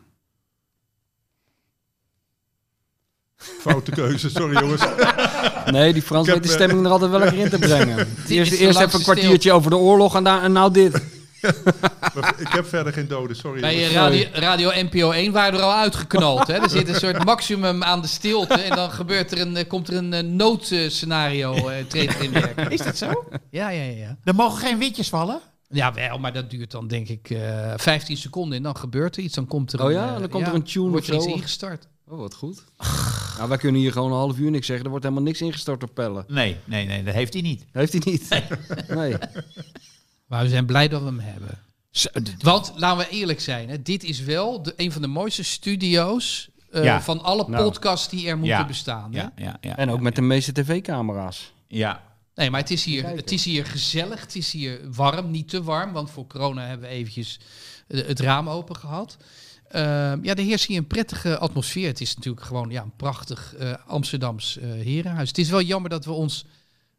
Speaker 5: Foute keuze, sorry jongens.
Speaker 2: Nee, die Frans
Speaker 5: Ik
Speaker 2: weet
Speaker 5: heb,
Speaker 2: de
Speaker 5: eh,
Speaker 2: stemming er altijd wel lekker in te brengen. Eerst,
Speaker 1: de
Speaker 2: eerst even
Speaker 1: laatste
Speaker 2: een kwartiertje over de oorlog en, daar- en nou dit.
Speaker 5: Maar ik heb verder geen doden, sorry.
Speaker 1: Bij eh,
Speaker 5: jongens.
Speaker 1: radio, radio NPO 1 waren we er al uitgeknald. Hè? Er zit een soort maximum aan de stilte. En dan gebeurt er een, eh, komt er een eh, noodscenario eh treedt er in werking.
Speaker 4: Is dat zo?
Speaker 1: Ja, ja, ja, ja.
Speaker 4: Er mogen geen witjes vallen?
Speaker 1: Ja, wel, maar dat duurt dan denk ik eh 15 seconden. En dan gebeurt er iets. Dan komt er
Speaker 2: Oh
Speaker 1: een,
Speaker 2: ja,
Speaker 1: eh,
Speaker 2: dan komt er een tune
Speaker 1: Wordt er
Speaker 2: of
Speaker 1: iets
Speaker 2: zo.
Speaker 1: ingestart.
Speaker 2: Oh, wat goed. Nou, wij kunnen hier gewoon een half uur niks zeggen. Er wordt helemaal niks ingestort op pellen.
Speaker 4: Nee, nee, nee, dat heeft hij niet.
Speaker 2: Heeft hij niet? Nee.
Speaker 1: Maar we zijn blij dat we hem hebben. Want laten we eerlijk zijn, hè, dit is wel de, een van de mooiste studio's eh,
Speaker 4: Ja.
Speaker 1: van alle
Speaker 2: Nou.
Speaker 1: podcasts die er moeten
Speaker 4: Ja.
Speaker 1: bestaan. Hè?
Speaker 4: Ja, ja, ja.
Speaker 2: En ook met de meeste tv-camera's.
Speaker 4: Ja,
Speaker 1: Nee, maar het is, hier,
Speaker 2: Kijken.
Speaker 1: het is hier gezellig, het is hier warm, niet te warm, want voor corona hebben we eventjes eh, het raam open gehad. Ehm, ja, er heerst hier een prettige atmosfeer. Het is natuurlijk gewoon ja, een prachtig eh, Amsterdams eh, herenhuis. Het is wel jammer dat we ons,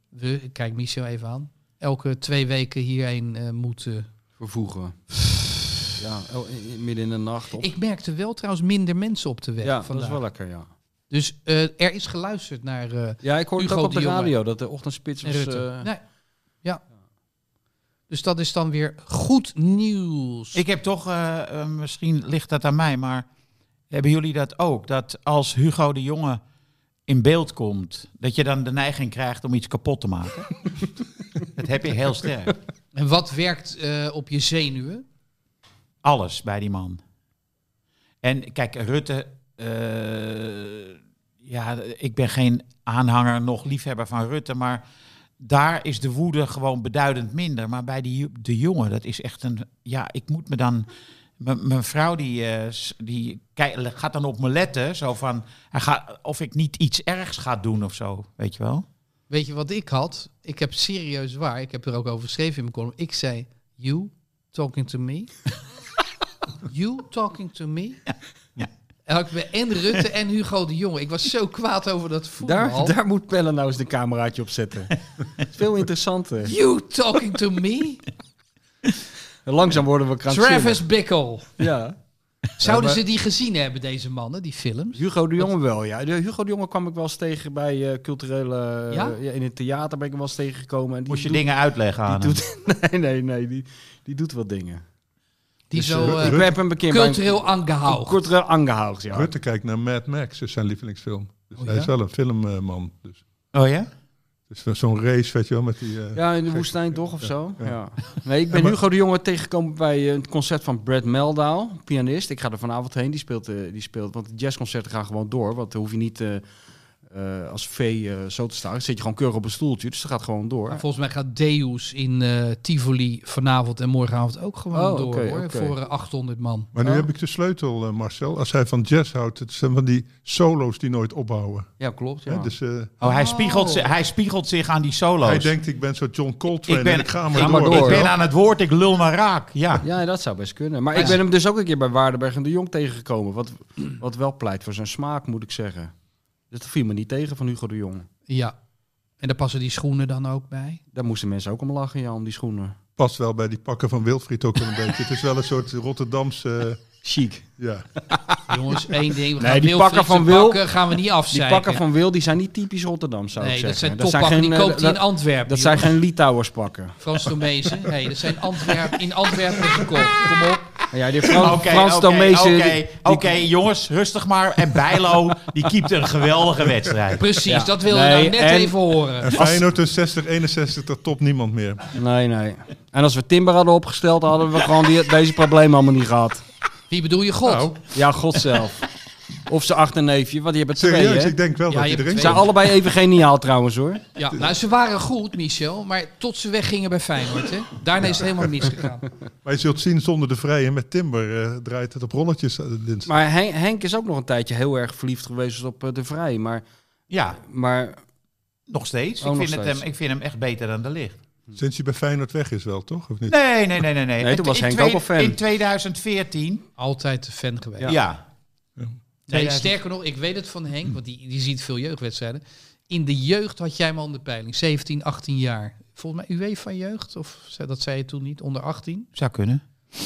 Speaker 1: we, ik kijk Michel even aan, elke twee weken hierheen eh, moeten
Speaker 2: Vervoegen. Ja, el- i- i- midden in de nacht. Op.
Speaker 1: Ik merkte wel trouwens minder mensen op de weg
Speaker 2: Ja, dat
Speaker 1: vandaag.
Speaker 2: is wel lekker, ja.
Speaker 1: Dus eh, er is geluisterd naar... eh,
Speaker 2: Ja, ik hoorde het
Speaker 1: Hugo
Speaker 2: ook op de
Speaker 1: de Jonge.
Speaker 2: radio dat de ochtendspits was...
Speaker 1: Rutte. Nou,
Speaker 2: eh,
Speaker 1: Nee. Ja. Dus dat is dan weer goed nieuws.
Speaker 4: ik heb toch, eh, eh, misschien ligt dat aan mij, maar hebben jullie dat ook? Dat als Hugo de Jonge in beeld komt, dat je dan de neiging krijgt om iets kapot te maken? dat heb je heel sterk.
Speaker 1: En wat werkt eh, op je zenuwen?
Speaker 4: Alles bij die man. En kijk, Rutte, eh, ja, ik ben geen aanhanger, nog liefhebber van Rutte, maar daar is de woede gewoon beduidend minder. Maar bij die, de jongen, dat is echt een, ja, ik moet me dan, m- mijn vrouw die, eh, s- die kei- gaat dan op me letten, zo van, hij gaat, of ik niet iets ergs ga doen of zo, weet je wel?
Speaker 1: Weet je wat ik had? Ik heb serieus waar, ik heb er ook over geschreven in mijn column. Ik zei, you talking to me? you talking to me?
Speaker 4: ja.
Speaker 1: En, had ik bij en Rutte en Hugo de Jonge. Ik was zo kwaad over dat voetbal.
Speaker 2: daar, daar moet Pelle nou eens een cameraatje op zetten. Veel interessanter.
Speaker 1: You talking to me?
Speaker 2: Langzaam worden we krankzinnig.
Speaker 1: Travis Bickle.
Speaker 2: Ja.
Speaker 1: Zouden
Speaker 2: maar-
Speaker 1: ze die gezien hebben, deze mannen, die films?
Speaker 2: Hugo de Jonge wel, ja. De Hugo de Jonge kwam ik wel eens tegen bij eh, culturele... eh,
Speaker 1: Ja?
Speaker 2: ja, in het theater ben ik hem wel eens tegengekomen. En die
Speaker 4: Moest je
Speaker 2: doet-
Speaker 4: dingen uitleggen aan
Speaker 2: Die
Speaker 4: hem.
Speaker 2: doet, nee, nee, nee. Die, die doet wel dingen.
Speaker 1: Die
Speaker 2: Dus,
Speaker 1: zo
Speaker 5: eh,
Speaker 1: eh,
Speaker 2: ik heb hem een keer bij een-
Speaker 1: cultureel aangehouden.
Speaker 2: Cultureel aangehaald, ja.
Speaker 5: Rutte kijkt naar Mad Max, dat is zijn lievelingsfilm. Dus
Speaker 1: Oh,
Speaker 5: hij
Speaker 1: ja?
Speaker 5: is wel een filmman. Dus,
Speaker 4: Oh ja?
Speaker 5: dus zo'n race, weet je wel, met die... eh,
Speaker 2: Ja, in de
Speaker 5: Gek.
Speaker 2: woestijn toch of zo?
Speaker 5: Ja.
Speaker 2: Ja. Nee, ik ben Hugo de Jonge tegengekomen bij eh, het concert van Brad Meldau, pianist. Ik ga er vanavond heen, die speelt, eh, die speelt want de jazzconcerten gaan gewoon door. Want dan hoef je niet eh, eh, als vee eh, zo te staan. Dan zit je gewoon keurig op een stoeltje, dus dat gaat gewoon door.
Speaker 1: Maar volgens mij gaat Deus in eh, Tivoli vanavond en morgenavond ook gewoon
Speaker 2: Oh,
Speaker 1: door
Speaker 2: oké,
Speaker 1: hoor,
Speaker 2: oké.
Speaker 1: voor eh, 800 man.
Speaker 5: Maar nu
Speaker 2: Oh.
Speaker 5: heb ik de sleutel, eh, Marcel. Als hij van jazz houdt, het zijn van die solo's die nooit ophouden.
Speaker 2: Ja, klopt.
Speaker 5: hè. Dus, eh,
Speaker 4: Oh, hij,
Speaker 1: Oh.
Speaker 4: Spiegelt, zi- hij spiegelt zich aan die solo's.
Speaker 5: hij denkt, ik ben zo John Coltrane en ik ga maar
Speaker 2: ik
Speaker 5: door.
Speaker 2: maar
Speaker 5: weet
Speaker 2: door.
Speaker 5: je wel.
Speaker 4: Ik ben aan het woord, ik lul maar raak. Ja.
Speaker 2: Ja, dat zou best kunnen. Maar
Speaker 1: Ja.
Speaker 2: ik ben hem dus ook een keer bij Waardenberg en de Jong tegengekomen. Wat, wat wel pleit voor zijn smaak, moet ik zeggen. Dus Dat viel me niet tegen van Hugo de Jong.
Speaker 1: Ja. En daar passen die schoenen dan ook bij.
Speaker 2: Daar moesten mensen ook om lachen, ja, om die schoenen.
Speaker 5: Past wel bij die pakken van Wilfried ook wel een beetje. Het is wel een soort Rotterdamse... eh,
Speaker 2: Chic.
Speaker 5: ja.
Speaker 1: Jongens, één ding. We
Speaker 2: Nee,
Speaker 1: gaan
Speaker 2: die
Speaker 1: Wilfried
Speaker 2: pakken van
Speaker 1: de
Speaker 2: Wil-
Speaker 1: pakken gaan we niet
Speaker 2: Die
Speaker 1: afzeiken.
Speaker 2: pakken van Wil, die zijn niet typisch Rotterdam, zou
Speaker 1: Nee,
Speaker 2: ik
Speaker 1: dat
Speaker 2: zeggen.
Speaker 1: zijn toppakken, die
Speaker 2: eh,
Speaker 1: koopt hij in
Speaker 2: dat,
Speaker 1: Antwerpen.
Speaker 2: dat zijn
Speaker 1: jongens.
Speaker 2: geen Litouwers pakken.
Speaker 1: Frans Tomezen. Nee, dat zijn Antwerpen, in Antwerpen gekocht.
Speaker 2: Ah!
Speaker 1: Kom op.
Speaker 2: Ja, die Fran
Speaker 4: Oké,
Speaker 2: Frans
Speaker 4: oké,
Speaker 2: Tomezen,
Speaker 4: oké,
Speaker 2: die-
Speaker 4: Oké, jongens, rustig maar. En Bijlo, die keept een geweldige wedstrijd.
Speaker 1: Precies,
Speaker 2: Ja.
Speaker 1: dat wilde
Speaker 2: Nee,
Speaker 1: ik nou net
Speaker 2: en-
Speaker 1: even horen.
Speaker 5: En Feyenoord in 60, 61, dat top niemand meer.
Speaker 2: Nee, nee. En als we Timber hadden opgesteld, hadden we gewoon die, deze problemen allemaal niet gehad.
Speaker 1: Wie bedoel je God?
Speaker 5: Nou,
Speaker 2: Ja, God zelf. Of zijn achterneefje, want die hebben twee,
Speaker 5: serieus,
Speaker 2: hè?
Speaker 5: ik denk wel
Speaker 1: Ja,
Speaker 5: dat
Speaker 1: je
Speaker 5: hij
Speaker 1: hebt
Speaker 5: erin
Speaker 1: twee.
Speaker 2: Zijn
Speaker 5: komt.
Speaker 2: allebei even geniaal trouwens, hoor.
Speaker 1: Ja, nou, ze waren goed, Michel, maar tot ze weggingen bij Feyenoord. Hè? Daarna is het helemaal misgegaan.
Speaker 5: Maar je zult zien, zonder de vrije met Timber eh, draait het op rolletjes eh, dinsdag.
Speaker 2: Maar Hen- Henk is ook nog een tijdje heel erg verliefd geweest op eh, De Vrij. Maar,
Speaker 4: Ja,
Speaker 2: maar
Speaker 4: nog steeds.
Speaker 2: Oh,
Speaker 4: ik,
Speaker 2: nog
Speaker 4: vind het
Speaker 2: steeds.
Speaker 4: Hem, ik vind hem echt beter dan de licht.
Speaker 5: Sinds hij bij Feyenoord weg is wel, toch? Of niet?
Speaker 4: Nee, nee, nee, nee. Nee,
Speaker 2: Nee, toen
Speaker 4: In-
Speaker 2: was
Speaker 4: in
Speaker 2: Henk
Speaker 4: twee-
Speaker 2: ook al fan.
Speaker 4: In 2014,
Speaker 1: Altijd fan geweest.
Speaker 4: ja.
Speaker 2: Ja.
Speaker 5: Ja.
Speaker 1: Nee,
Speaker 4: 2000
Speaker 1: sterker nog, ik weet het van Henk, want die, die ziet veel jeugdwedstrijden. In de jeugd had jij hem al in de peiling, 17, 18 jaar. Volgens mij UEFA jeugd, of zei- dat zei je toen niet, onder 18.
Speaker 4: Zou kunnen.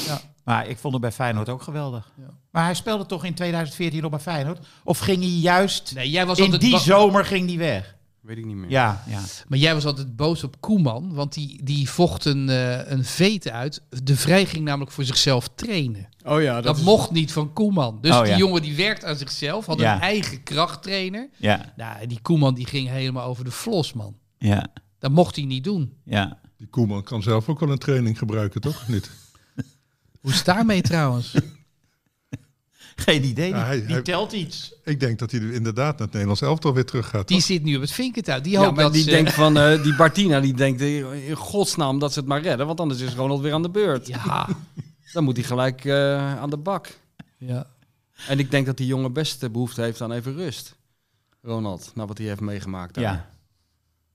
Speaker 1: Ja.
Speaker 4: Maar ik vond hem bij Feyenoord ook geweldig.
Speaker 1: Ja.
Speaker 4: Maar hij speelde toch in 2014 nog bij Feyenoord? Of ging hij juist...
Speaker 1: Nee, jij was
Speaker 4: in
Speaker 1: altijd
Speaker 4: die
Speaker 1: ba-
Speaker 4: zomer ging hij weg.
Speaker 2: Weet ik niet meer.
Speaker 4: Ja, ja.
Speaker 1: Maar jij was altijd boos op Koeman, want die, die vocht een, eh een veet uit. De Vrij ging namelijk voor zichzelf trainen.
Speaker 2: Oh ja,
Speaker 1: Dat, mocht niet van Koeman. Dus
Speaker 4: Oh,
Speaker 1: die
Speaker 4: ja.
Speaker 1: jongen die werkt aan zichzelf, had
Speaker 4: Ja.
Speaker 1: een eigen krachttrainer.
Speaker 4: ja,
Speaker 1: Nou, die Koeman die ging helemaal over de flos, man.
Speaker 4: ja,
Speaker 1: Dat mocht hij niet doen.
Speaker 4: ja.
Speaker 5: Die Koeman kan zelf ook wel een training gebruiken, toch? Of Niet?
Speaker 1: Hoe is het daarmee trouwens?
Speaker 4: Geen idee, die,
Speaker 5: Ja, hij-
Speaker 4: die
Speaker 5: hij-
Speaker 4: telt iets.
Speaker 5: Ik denk dat hij er inderdaad naar het Nederlands elftal weer terug gaat.
Speaker 1: Die
Speaker 5: toch?
Speaker 1: zit nu op het vinkertuig. Die
Speaker 2: Ja,
Speaker 1: hoopt
Speaker 2: maar
Speaker 1: dat
Speaker 2: die
Speaker 1: ze...
Speaker 2: denkt van, eh, die Bartina, die denkt eh, in godsnaam dat ze het maar redden, want anders is Ronald weer aan de beurt.
Speaker 1: Ja,
Speaker 2: Dan moet hij gelijk eh, aan de bak.
Speaker 1: ja.
Speaker 2: En ik denk dat die jongen best eh, behoefte heeft aan even rust. Ronald, nou wat hij heeft meegemaakt daar.
Speaker 4: Ja.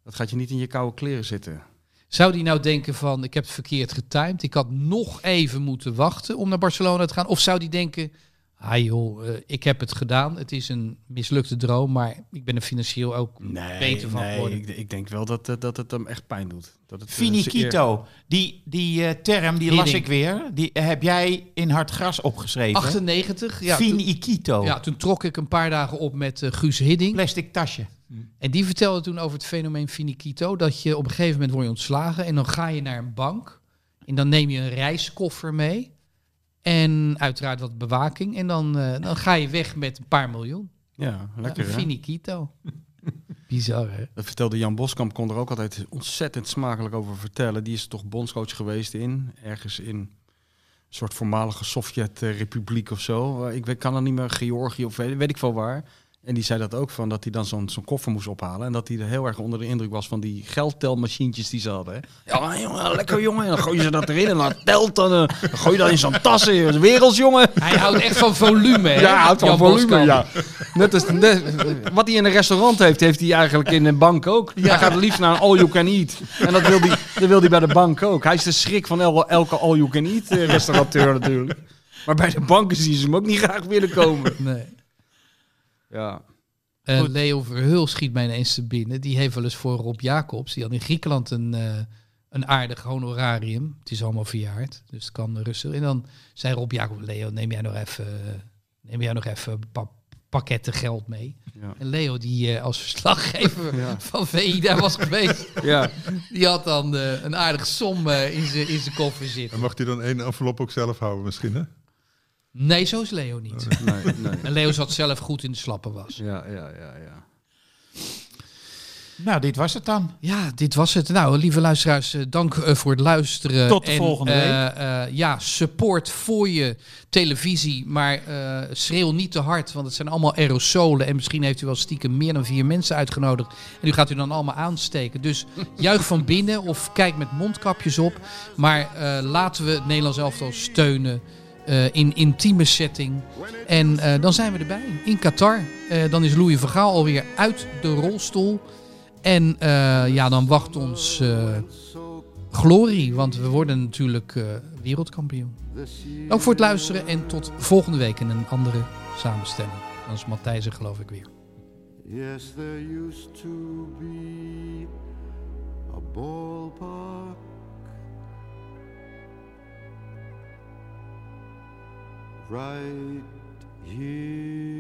Speaker 2: Dat gaat je niet in je koude kleren zitten.
Speaker 1: Zou die nou denken van, ik heb het verkeerd getimed. Ik had nog even moeten wachten om naar Barcelona te gaan. Of zou die denken, ah joh, eh, ik heb het gedaan. Het is een mislukte droom, maar ik ben er financieel ook beter van geworden.
Speaker 2: ik, ik denk wel dat, eh, dat het hem echt pijn doet. Dat
Speaker 1: Dus,
Speaker 2: het, eh, zijn
Speaker 4: Finiquito, die, die eh, term die
Speaker 1: Die
Speaker 4: las
Speaker 1: ding.
Speaker 4: ik weer. Die eh, heb jij in hard gras opgeschreven.
Speaker 1: 98, ja. Toen,
Speaker 4: Finiquito,
Speaker 1: ja, toen trok ik een paar dagen op met eh, Guus Hidding.
Speaker 4: plastic tasje.
Speaker 1: En die vertelde toen over het fenomeen finiquito. Dat je op een gegeven moment word je ontslagen en dan ga je naar een bank. En dan neem je een reiskoffer mee. En uiteraard wat bewaking. En dan, eh, dan ga je weg met een paar miljoen.
Speaker 2: eer- Ja, lekker
Speaker 1: ja,
Speaker 2: hè?
Speaker 1: finiquito. Bizar hè?
Speaker 2: Dat vertelde Jan Boskamp, kon er ook altijd ontzettend smakelijk over vertellen. Die is toch bondscoach geweest in, ergens in een soort voormalige Sovjet-republiek of zo. Eh, Ik weet, kan er niet meer, Georgië of weet, weet ik veel waar. En die zei dat ook, van dat hij dan zo'n zo'n koffer moest ophalen. En dat hij er heel erg onder de indruk was van die geldtelmachientjes die ze hadden. hè. Ja, maar jongen, lekker jongen. En dan gooi je ze dat erin en dan telt dan. eh, dan gooi je dat in zo'n eh, tassen. joh. Dat is Werelds, jongen.
Speaker 1: Hij houdt echt van volume hè?
Speaker 2: Ja, hij houdt van
Speaker 1: Jan
Speaker 2: volume,
Speaker 1: Boskamp.
Speaker 2: ja. Net als, net- wat hij in een restaurant heeft, heeft hij eigenlijk in een bank ook. Hij gaat het liefst naar een all-you-can-eat. En dat wil, hij, dat wil hij bij de bank ook. Hij is de schrik van el- elke all-you-can-eat eh, restaurateur natuurlijk. Maar bij de banken zien ze hem ook niet graag binnenkomen.
Speaker 1: Nee.
Speaker 2: Ja.
Speaker 1: Eh, Leo Verhul schiet mij ineens te binnen. Die heeft wel eens voor Rob Jacobs. Die had in Griekenland een, eh, een aardig honorarium. Het is allemaal verjaard, dus het kan rustig. En dan zei Rob Jacobs, Leo, neem jij nog even, neem jij nog even een pa- pakketten geld mee.
Speaker 2: Ja.
Speaker 1: En Leo, die eh, als verslaggever
Speaker 2: Ja.
Speaker 1: van VI daar was geweest,
Speaker 2: ja.
Speaker 1: die had dan eh, een aardige som eh, in zijn in zijn koffer
Speaker 5: En
Speaker 1: zitten.
Speaker 5: mag hij dan één envelop ook zelf houden misschien, hè?
Speaker 1: Nee, zo is Leo niet.
Speaker 2: Oh, Nee, nee.
Speaker 1: En Leo zat zelf goed in de slappe was.
Speaker 2: Ja, ja, ja, ja.
Speaker 4: Nou, dit was het dan.
Speaker 1: Ja, dit was het. Nou, lieve luisteraars, eh, dank eh, voor het luisteren.
Speaker 4: Tot de volgende
Speaker 1: eh,
Speaker 4: week.
Speaker 1: eh, ja, support voor je televisie, maar eh, schreeuw niet te hard, want het zijn allemaal aerosolen. En misschien heeft u wel stiekem meer dan vier mensen uitgenodigd. En u gaat u dan allemaal aansteken. Dus juich van binnen of kijk met mondkapjes op. Maar eh, laten we het Nederlands elftal steunen eh, in intieme setting. En eh, dan zijn we erbij. In Qatar. Eh, dan is Louis van Gaal alweer uit de rolstoel. En eh, ja, dan wacht ons eh, glorie. Want we worden natuurlijk eh, wereldkampioen. Dank voor het luisteren en tot volgende week in een andere samenstelling. Dan is Matthijs er geloof ik weer.
Speaker 3: Yes, there used to be a ballpark right here.